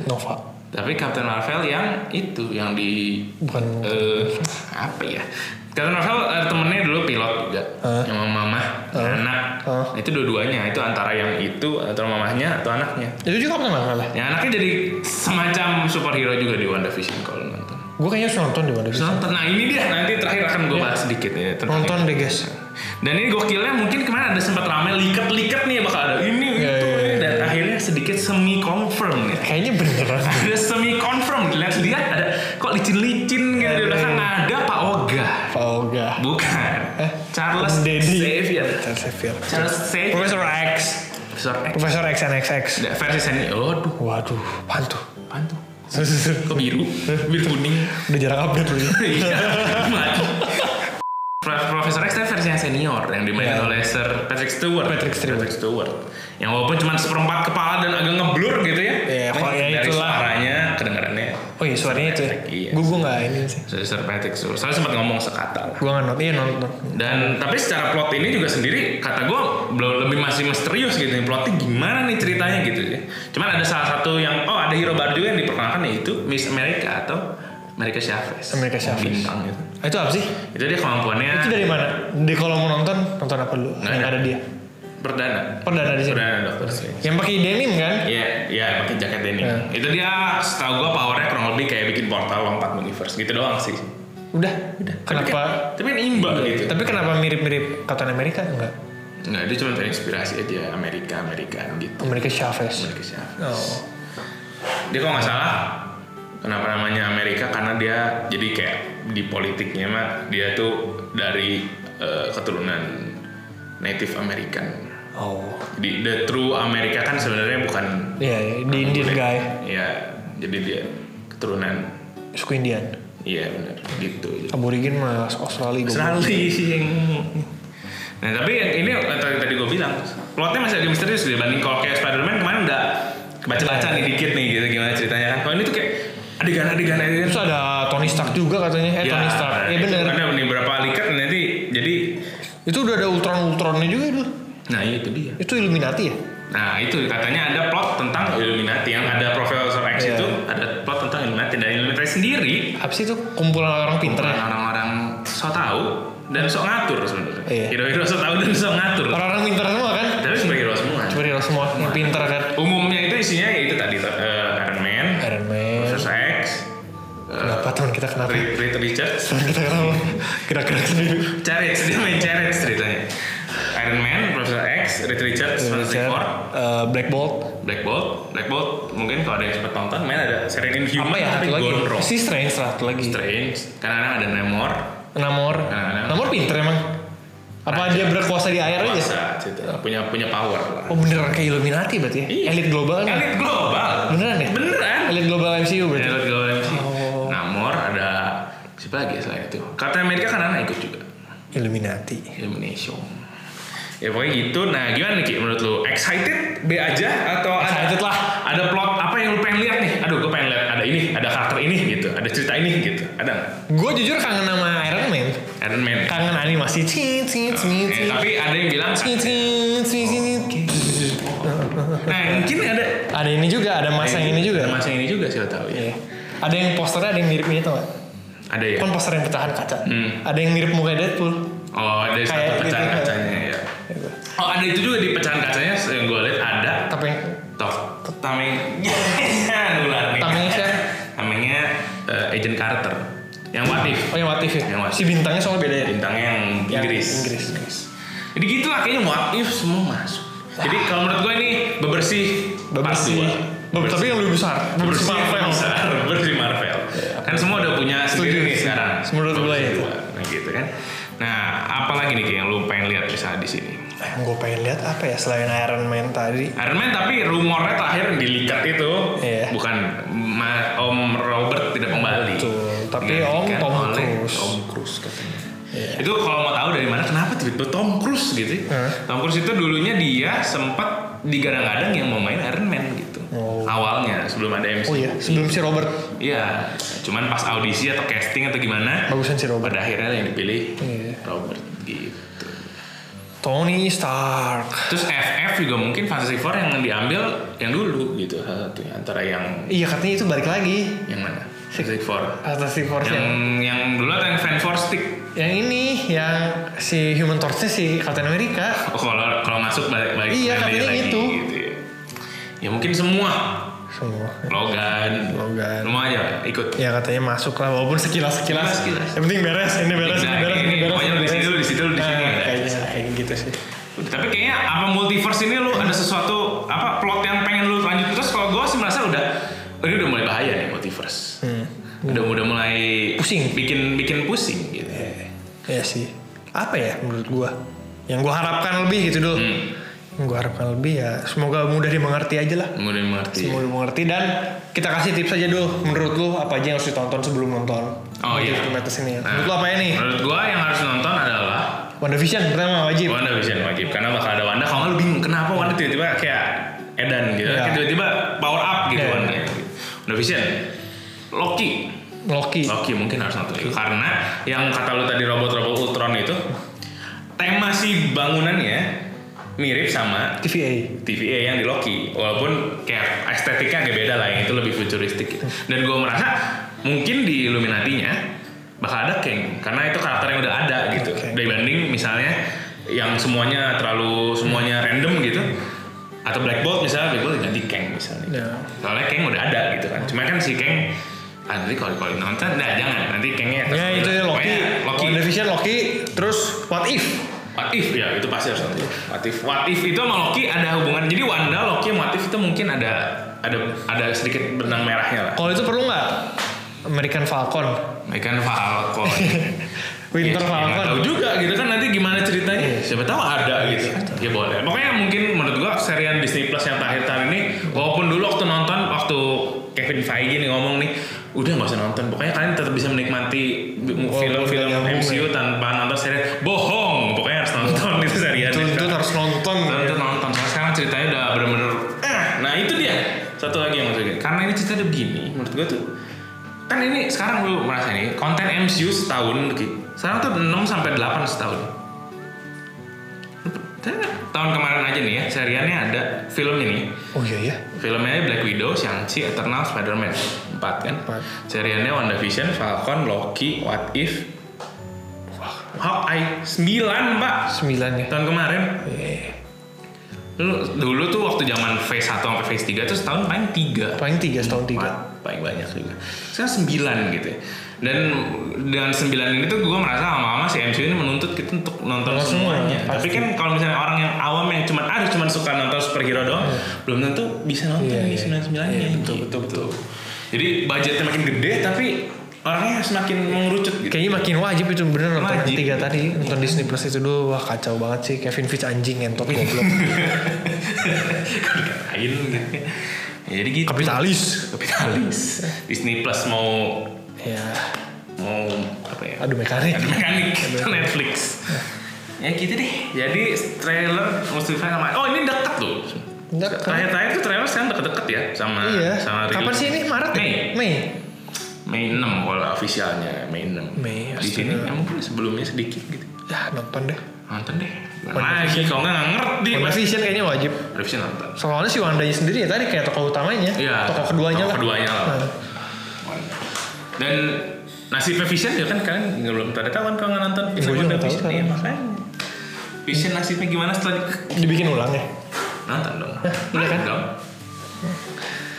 A: Nova.
B: Tapi Captain Marvel yang itu yang di
A: Bukan.
B: eh, apa ya? Captain Marvel eh, temennya dulu pilot juga
A: Hah?
B: sama mama anak
A: Hah?
B: itu dua-duanya itu antara yang itu atau mamahnya atau anaknya.
A: Itu juga Captain Marvel ya?
B: Yang anaknya jadi semacam superhero juga di WandaVision kalau lu nonton.
A: Gue kayaknya harus nonton di mana
B: Terus nonton. Nah ini dia nanti terakhir akan gue bahas sedikit ya. terakhir.
A: Iya. Nonton deh guys.
B: Dan ini gokilnya mungkin kemarin ada sempat ramai liket-liket nih bakal ada
A: Iya,
B: ini itu
A: iya,
B: ini. dan akhirnya sedikit semi confirm nih
A: Kayaknya beneran.
B: ada semi confirm lihat-lihat ada kok licin-licin gitu di belakang ada Pak Oga
A: Pauga.
B: bukan
A: Eh,
B: Charles
A: Dedi.
B: Xavier
A: Charles Xavier.
B: Charles Xavier
A: Profesor X.
B: Profesor X
A: Profesor XNXX.
B: Ada versi seni waduh
A: Waduh, pantu.
B: apaan tuh kok biru
A: Eh.
B: biru kuning
A: Udah jarang update lu.
B: iya mati Prof- Profesor X itu versi yang senior yang dimainin
A: Iya.
B: oleh Sir Patrick Stewart.
A: Patrick Stewart.
B: Stewart. Yang walaupun cuma seperempat kepala dan agak ngeblur gitu ya.
A: Iya,
B: Tapi
A: kalau ya
B: dari
A: itulah.
B: suaranya kedengarannya
A: Oh iya suaranya itu ya.
B: Iya.
A: Gue gue nggak ini sih.
B: Sir Patrick Stewart. Soalnya sempat ngomong sekata lah.
A: Gue nggak nonton. Iya nonton.
B: Dan tapi secara plot ini juga sendiri kata gue belum lebih masih misterius gitu nih plotnya gimana nih ceritanya gitu ya. Cuman ada salah satu yang oh ada hero baru juga yang diperkenalkan yaitu Miss America atau America Chavez.
A: America Chavez.
B: Bintang itu.
A: Ah, Itu apa sih?
B: Itu dia kemampuannya
A: Itu dari mana? Di kalau mau nonton nonton apa dulu?
B: Nggak
A: Yang
B: ada.
A: ada dia.
B: perdana.
A: Perdana di sini.
B: Perdana dokter sih.
A: Yang pakai denim kan?
B: Iya, iya pakai jaket denim.
A: Iya.
B: Itu dia setahu gue powernya kurang lebih kayak bikin portal lompat universe gitu doang sih.
A: Udah. Kenapa? Iya.
B: Tapi kan, tapi kan imba gitu.
A: Tapi kenapa mirip-mirip Captain America enggak?
B: Nggak, dia cuma terinspirasi aja Amerika Amerikaan gitu.
A: America Chavez.
B: Amerika Chavez.
A: Oh.
B: dia kalau nggak salah kenapa namanya Amerika karena dia jadi kayak di politiknya mah dia tuh dari eh, keturunan Native American
A: Oh.
B: jadi the true Amerika kan sebenarnya bukan
A: Iya, iya, di Indian
B: kulit.
A: guy,
B: Iya, jadi dia keturunan
A: suku Indian.
B: iya benar gitu
A: Aborigin mah Australia gue.
B: Australia nah tapi yang ini yang tadi, tadi gue bilang plotnya masih agak misterius dibanding kalau kayak Spider-Man kemarin udah baca-baca nih dikit nih gitu gimana ceritanya kan kalau ini tuh kayak adegan-adegan adegan
A: Terus ada Tony Stark juga katanya. Eh Tony Stark.
B: nah,
A: Ya
B: itu
A: bener.
B: Ada beberapa likat nanti jadi
A: Itu udah ada Ultron-Ultronnya juga dulu.
B: nah iya, itu dia.
A: Itu Illuminati ya?
B: Nah itu katanya ada plot tentang Illuminati yang ada Profesor X
A: Iya.
B: itu ada plot tentang Illuminati dan Illuminati sendiri
A: Apa sih itu kumpulan orang pinter ya?
B: orang-orang so tahu dan sok ngatur sebenarnya.
A: Iya.
B: Hero-hero so tahu dan sok ngatur.
A: Orang-orang pinter semua kan?
B: Tapi superhero semua.
A: Superhero semua, yang pinter kan?
B: Umumnya itu isinya ya itu tadi eh, Iron Man,
A: Iron Man.
B: Profesor X,
A: Kenapa teman kita kenapa?
B: Reed, Reed Richards,
A: Teman kita kenapa? Gerak-gerak sendiri.
B: Chariots dia main Chariots ceritanya. Iron Man, Profesor X, Reed Richards, Fantastic Four,
A: Eh, Black Bolt.
B: Black Bolt, Black Bolt mungkin kalau ada yang sempat nonton, main ada seri Inhuman
A: Apa ya?
B: tapi
A: Satu lagi.
B: gondrong.
A: Si Strange lah, satu lagi.
B: Strange, karena ada Namor,
A: Namor.
B: Nah,
A: Namor pinter emang. Apa dia berkuasa di air aja?
B: kuasa, cerita. punya punya power
A: ya?
B: lah.
A: Oh beneran kayak Illuminati berarti ya?
B: Iya.
A: Elit global kan?
B: Elit kan? Iya. global,
A: Beneran ya?
B: beneran.
A: Elit global MCU berarti?
B: Elit global MC.
A: Oh.
B: Namor ada siapa lagi selain itu? Captain America kan anak ikut juga.
A: Illuminati.
B: Illumination. Ya pokoknya gitu. Nah gimana nih Ki menurut lu? Excited B aja atau ada-
A: Excited lah.
B: Ada plot apa yang lu pengen lihat nih? Aduh gue pengen lihat ada ini, ada karakter ini gitu, ada cerita ini gitu. Ada nggak?
A: Gue jujur kangen sama Iron Man.
B: Iron Man.
A: Kangen animasi. Cing, cing, cing,
B: Eh,
A: cing.
B: tapi ada yang bilang
A: Cing, cing, cing, cing, cing.
B: Nah mungkin ada
A: Ada ini juga, ada masa yang ini
B: Ada
A: juga.
B: masa yang ini juga sih lo tau ya
A: Iya. Ada yang posternya ada yang mirip ini tau gak?
B: Ada ya?
A: Kan poster yang pecahan kaca.
B: Hmm.
A: Ada yang mirip muka Deadpool.
B: Oh ada satu
A: Kayak
B: pecahan
A: gitu, Iya. kayak-
B: kacanya ya Oh ada itu juga di pecahan kacanya yang gue lihat ada
A: Tapi yang
B: Top Tameng Ular nih
A: Tamengnya siapa?
B: Tamengnya eh, Agent Carter Yang What If
A: Oh yang watif ya?
B: Yang What
A: Si bintangnya soalnya beda ya?
B: Bintangnya yang
A: Yang
B: Inggris
A: Inggris.
B: Jadi gitu lah kayaknya What If semua masuk Jadi kalau menurut gue ini Bebersih part
A: Bebersih.
B: dua.
A: Beb- Tapi yang lebih besar. Bebersih
B: Bebersih
A: Marvel. Iya.
B: besar, bebersih Marvel. Kan semua udah punya sendiri
A: Setuju
B: nih
A: sih.
B: sekarang.
A: Menurut gue
B: Bebersih
A: itu.
B: dua. Nah gitu kan. Nah, apalagi nih Ki, yang lu pengen lihat bisa di sini.
A: Yang gue Eh, pengen lihat apa ya selain Iron Man tadi?
B: Iron Man tapi rumornya terakhir dilihat itu
A: Iya.
B: bukan Ma- Om Robert tidak kembali.
A: Betul. Tapi Om
B: Digantikan
A: Tom
B: oleh
A: Cruise. Cruise.
B: Tom Cruise katanya.
A: Iya.
B: Itu kalau mau tahu dari mana kenapa tiba-tiba Tom Cruise gitu.
A: Hah?
B: Tom Cruise itu dulunya dia sempat digadang-gadang yang mau main Iron Man gitu.
A: Oh.
B: Awalnya sebelum ada MCU.
A: Oh iya, sebelum si Robert
B: Iya, cuman pas audisi atau casting atau gimana,
A: bagusan si Robert.
B: pada akhirnya yang dipilih
A: Iya.
B: Robert gitu.
A: Tony Stark.
B: Terus FF juga mungkin Fantastic Four yang diambil yang dulu gitu salah satunya antara yang
A: Iya katanya itu balik lagi
B: yang mana? Fantastic Four.
A: atas si Force
B: Yang
A: yang,
B: yang dulu atau yang Fan Four Stick?
A: yang Ya, ini yang si Human Torch-nya si Captain America.
B: Oh, kalau kalau masuk balik balik
A: Iya,
B: balik
A: katanya itu.
B: Gitu ya. ya mungkin semua
A: Semua.
B: Logan.
A: Logan.
B: Lu mau aja Pak? ikut.
A: Ya katanya masuk lah walaupun sekilas sekilas.
B: Sekilas-sekilas.
A: Yang penting beres, ini beres, ini
B: Nah,
A: beres,
B: ini,
A: ini beres.
B: pokoknya
A: ini
B: di
A: beres.
B: sini dulu, di sini dulu, di sini
A: Nah,
B: dulu.
A: Kayaknya kayak gitu sih.
B: Tapi kayaknya apa multiverse ini lu ada sesuatu apa plot yang pengen lu lanjut terus kalau gue sih merasa udah ini udah mulai bahaya nih multiverse. Udah udah mulai
A: Hmm. Pusing.
B: bikin bikin pusing gitu.
A: Iya sih. Apa ya menurut gua? Yang gua harapkan lebih gitu dulu.
B: Hmm.
A: Yang gua harapkan lebih ya semoga mudah dimengerti aja lah.
B: Mudah mengerti.
A: Semoga dimengerti dan kita kasih tips aja dulu menurut lu apa aja yang harus ditonton sebelum nonton.
B: Oh iya.
A: Multiverse Madness ini.
B: Nah,
A: Menurut lu apa ya nih?
B: Menurut gua yang harus nonton adalah
A: WandaVision pertama wajib.
B: Wanda Vision wajib karena bakal ada Wanda. Kalau nggak lu bingung kenapa Wanda tiba-tiba kayak Edan gitu,
A: Iya.
B: Kayak tiba-tiba power up gitu
A: Iya.
B: Wanda. Wanda Vision, Loki,
A: Loki.
B: Loki mungkin harus nonton itu karena yang kata lu tadi robot-robot Ultron itu tema si bangunannya mirip sama
A: TVA.
B: TVA yang di Loki walaupun kayak estetiknya agak beda lah yang itu lebih futuristik gitu. dan gue merasa mungkin di Illuminati-nya bakal ada Kang karena itu karakter yang udah ada gitu
A: Oke.
B: dibanding misalnya yang semuanya terlalu semuanya random gitu atau Black Bolt misalnya Black Bolt ganti Kang misalnya
A: Ya.
B: soalnya Kang udah ada gitu kan cuma kan si Kang ah, nanti kalau kalau nonton nah jangan nanti Kangnya
A: Ya itu ya Loki.
B: Loki
A: WandaVision Loki terus What If?
B: What if ya itu pasti harus nanti. What if, what if itu sama Loki ada hubungan. Jadi Wanda, Loki, sama what if itu mungkin ada ada ada sedikit benang merahnya lah.
A: Kalau itu perlu nggak American Falcon?
B: Megan Falcon.
A: Winter
B: Ya, nggak
A: Falcon. Iya.
B: Tahu juga gitu kan nanti gimana ceritanya. Siapa tahu ada gitu. Ya boleh. Pokoknya mungkin menurut gua serian Disney Plus yang terakhir tahun ini walaupun dulu waktu nonton waktu Kevin Feige nih ngomong nih udah nggak usah nonton pokoknya kalian tetap bisa menikmati bi-
A: Walaupun
B: film-film
A: nggak nyambung
B: MCU
A: ya.
B: tanpa nonton serial bohong pokoknya harus nonton itu serian
A: Itu, itu harus nonton.
B: Nonton, nonton. Soalnya sekarang ceritanya udah bener-bener eh, Nah itu dia Satu lagi yang maksudnya Karena ini cerita udah begini Menurut gue tuh Kan ini sekarang lu merasa nih Konten MCU setahun Ki. Sekarang tuh 6 sampai 8 setahun Lu percaya nggak? Tahun kemarin aja nih ya Seriannya ada film ini
A: Oh iya ya.
B: Filmnya Black Widow, Shang-Chi, Eternal, Spider-Man 4 kan
A: Empat.
B: Seriannya WandaVision, Falcon, Loki, What If Hawkeye 9 pak
A: Sembilan ya.
B: Tahun kemarin
A: Iya.
B: Lu dulu tuh waktu zaman phase 1 sampai phase 3 tuh setahun paling 3.
A: Paling tiga setahun tiga.
B: paling banyak juga. Sekarang 9 gitu. ya. Dan dengan 9 ini tuh gue merasa lama-lama si MCU ini menuntut kita untuk nonton
A: Nonton semua,
B: semuanya. Tapi
A: pasti.
B: kan kalau misalnya orang yang awam yang cuma aduh cuma suka nonton superhero doang, belum tentu bisa nonton
A: Iya,
B: ini
A: iya.
B: 99-nya. betul, betul, betul. Jadi budgetnya makin gede tapi orangnya semakin mengerucut gitu.
A: Kayaknya makin wajib itu bener nonton yang
B: Wajib.
A: tiga tadi nonton Disney Plus itu dulu wah kacau banget sih Kevin Feige anjing entot goblok
B: Lain gitu. Ya, jadi gitu.
A: kapitalis
B: Kapitalis. Disney Plus mau
A: ya
B: mau apa ya
A: aduh mekanik
B: ada mekanik Netflix ya gitu deh jadi trailer Mustafa sama oh ini deket tuh
A: Deket.
B: terakhir-terakhir tuh trailer sekarang deket-deket ya sama
A: iya
B: sama
A: kapan
B: rilis.
A: sih ini Maret ya?
B: Mei
A: Mei
B: Mei 6 kalau officialnya Mei
A: Mei,
B: 6 di
A: astaga.
B: sini ya mungkin sebelumnya sedikit gitu
A: ya nonton deh
B: nonton deh
A: Oh,
B: Gimana lagi
A: iya.
B: kalau nggak nggak ngerti pasti
A: WandaVision kayaknya wajib
B: harusnya nonton
A: soalnya si Wanda sendiri ya tadi kayak tokoh utamanya
B: Iya.
A: tokoh keduanya
B: tokoh
A: lah
B: keduanya lah.
A: Nah.
B: Dan nasib Vision ya kan kalian nggak belum pada tahu kan kalau nggak nonton Vision
A: Iya, Gua juga
B: Wanda
A: nggak tahu
B: Vision ya
A: sekarang.
B: makanya. Vision nasibnya gimana setelah di-
A: dibikin ulang ya
B: nonton dong.
A: iya kan?
B: Nonton dong.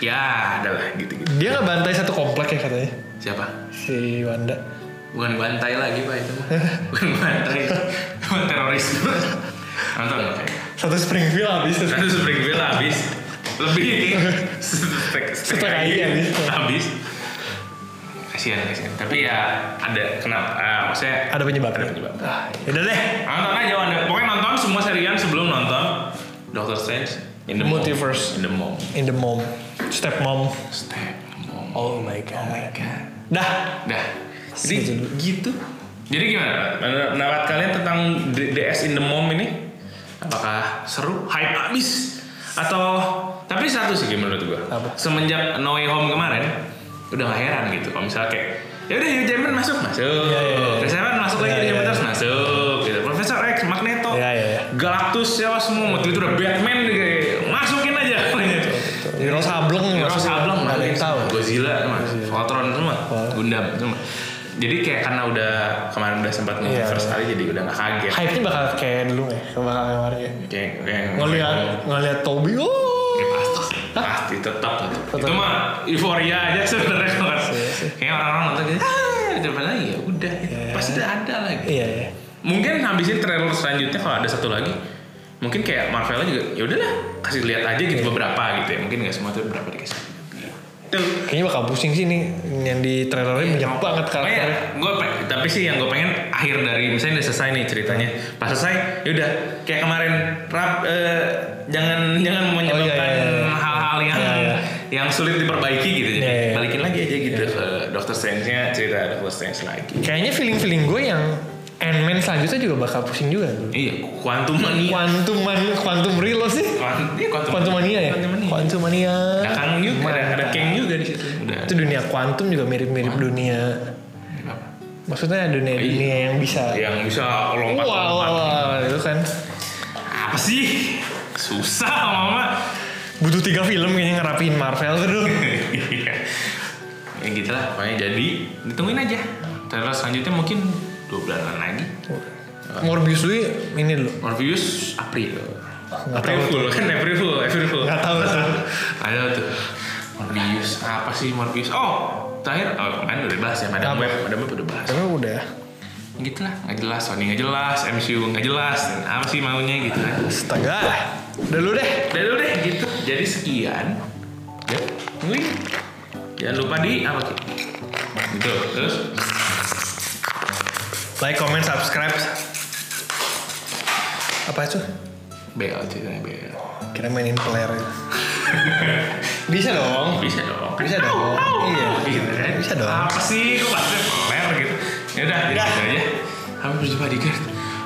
B: Ya, adalah gitu-gitu.
A: dia nggak bantai satu komplek ya katanya
B: Siapa?
A: si Wanda
B: Bukan bantai lagi pak itu mah. Bukan bantai, bukan teroris. nonton makanya.
A: satu Springfield habis
B: Satu Springfield habis lebih setek
A: Setek aja gitu. habis.
B: habis kasihan kasihan tapi ya ada kenapa ah, maksudnya
A: ada penyebabnya
B: ada penyebab
A: Yaudah deh
B: nonton aja Wanda pokoknya nonton semua serian sebelum nonton Doctor Strange in the Mall.
A: Multiverse.
B: in the mall
A: in the mom step mom
B: step mall.
A: oh my god
B: god
A: dah
B: dah
A: Setuju
B: Jadi
A: dulu. gitu.
B: jadi gimana? Pendapat kalian tentang D- DS in the Mom ini? Apakah seru? Hype abis? Atau tapi satu sih menurut gua.
A: Apa?
B: Semenjak No Way Home kemarin udah gak heran gitu kalau misalnya kayak ya udah Hugh Jackman masuk masuk
A: Iya, iya, iya.
B: Chris Evans masuk lagi
A: Iya,
B: Hugh
A: iya,
B: Jackman masuk gitu Profesor X Magneto
A: Iya, iya, iya.
B: Galactus siapa semua waktu itu udah Batman kayak masukin aja
A: Iya, Hero Sableng
B: Ross
A: maksudnya.
B: Sableng
A: Nggak ada yang tahu.
B: Iya, Godzilla semua, Voltron semua,
A: Wah.
B: Gundam semua. Jadi kayak karena udah kemarin udah sempat
A: Iya.
B: nge-first kali jadi udah gak kaget.
A: Hype-nya bakal kayak dulu ya, bakal kayak kemarin ya.
B: Kayak kayak
A: Ngeliat ngeliat Toby, oh.
B: Ya, pasti sih. pasti tetap gitu. Itu
A: Tetap. Iya,
B: mah euforia aja sebenarnya kan. Kayak orang-orang nonton gitu. Ah, itu apa lagi ya udah gitu.
A: Iya.
B: Pasti udah ada lagi.
A: Iya iya.
B: Mungkin habisin trailer selanjutnya kalau ada satu lagi mungkin kayak Marvel juga ya udahlah kasih lihat aja gitu
A: Iya.
B: beberapa gitu ya mungkin nggak semua tuh beberapa dikasih tuh
A: Kayaknya bakal pusing sih nih yang di
B: Iya,
A: trailernya banyak banget karakternya.
B: gue tapi sih yang gue pengen akhir dari misalnya udah selesai nih ceritanya pas selesai yaudah kayak kemarin rap eh, jangan jangan menyebabkan
A: iya, iya, iya.
B: hal-hal yang
A: Iya, iya.
B: yang sulit diperbaiki gitu jadi
A: Iya, iya.
B: balikin lagi aja gitu ke Doctor Strange-nya cerita Doctor Strange lagi
A: Kayaknya feeling-feeling gue yang Ant-Man selanjutnya juga bakal pusing juga. tuh.
B: iya Quantum Mania
A: Quantum man, Quantum Real sih.
B: Quantum iya,
A: Quantum Mania ya.
B: Quantum Mania
A: Quantum Iya. Mania.
B: ada Kang juga ada, ada Kang juga di situ udah
A: Itu dunia kuantum juga mirip-mirip dunia. Maksudnya dunia-dunia yang bisa.
B: yang bisa
A: Wow, wow,
B: lompat-lompat
A: wow, itu kan.
B: apa sih susah mama
A: Butuh tiga film kayaknya ngerapihin Marvel tuh. dulu.
B: Iya. ya gitu lah pokoknya jadi ditungguin aja trailer selanjutnya mungkin dua bulanan lagi
A: Morbius dulu ya, ini dulu.
B: Morbius April
A: Nggak
B: April
A: tahu
B: Fool kan April Fool April Fool
A: Nggak tahu tuh.
B: ada tuh Morbius apa sih Morbius oh terakhir oh kemarin udah bahas ya Madam
A: Apa?
B: Web Madam Web udah bahas
A: Tapi udah.
B: gitu lah nggak jelas Sony nggak jelas MCU nggak jelas apa sih maunya gitu kan
A: Astaga. Udah lu deh.
B: udah dulu deh gitu jadi sekian ya tungguin jangan lupa di apa Ki? gitu terus
A: Like, comment, subscribe. Apa itu?
B: BL ceritanya BL
A: Kira mainin player. Bisa dong.
B: bisa dong
A: Bisa dong.
B: Au, au, au,
A: Iya.
B: gitu kan
A: Bisa dong.
B: apa sih kok bahasnya peler gitu ya udah gitu aja sampai berjumpa di Gert
A: gitu.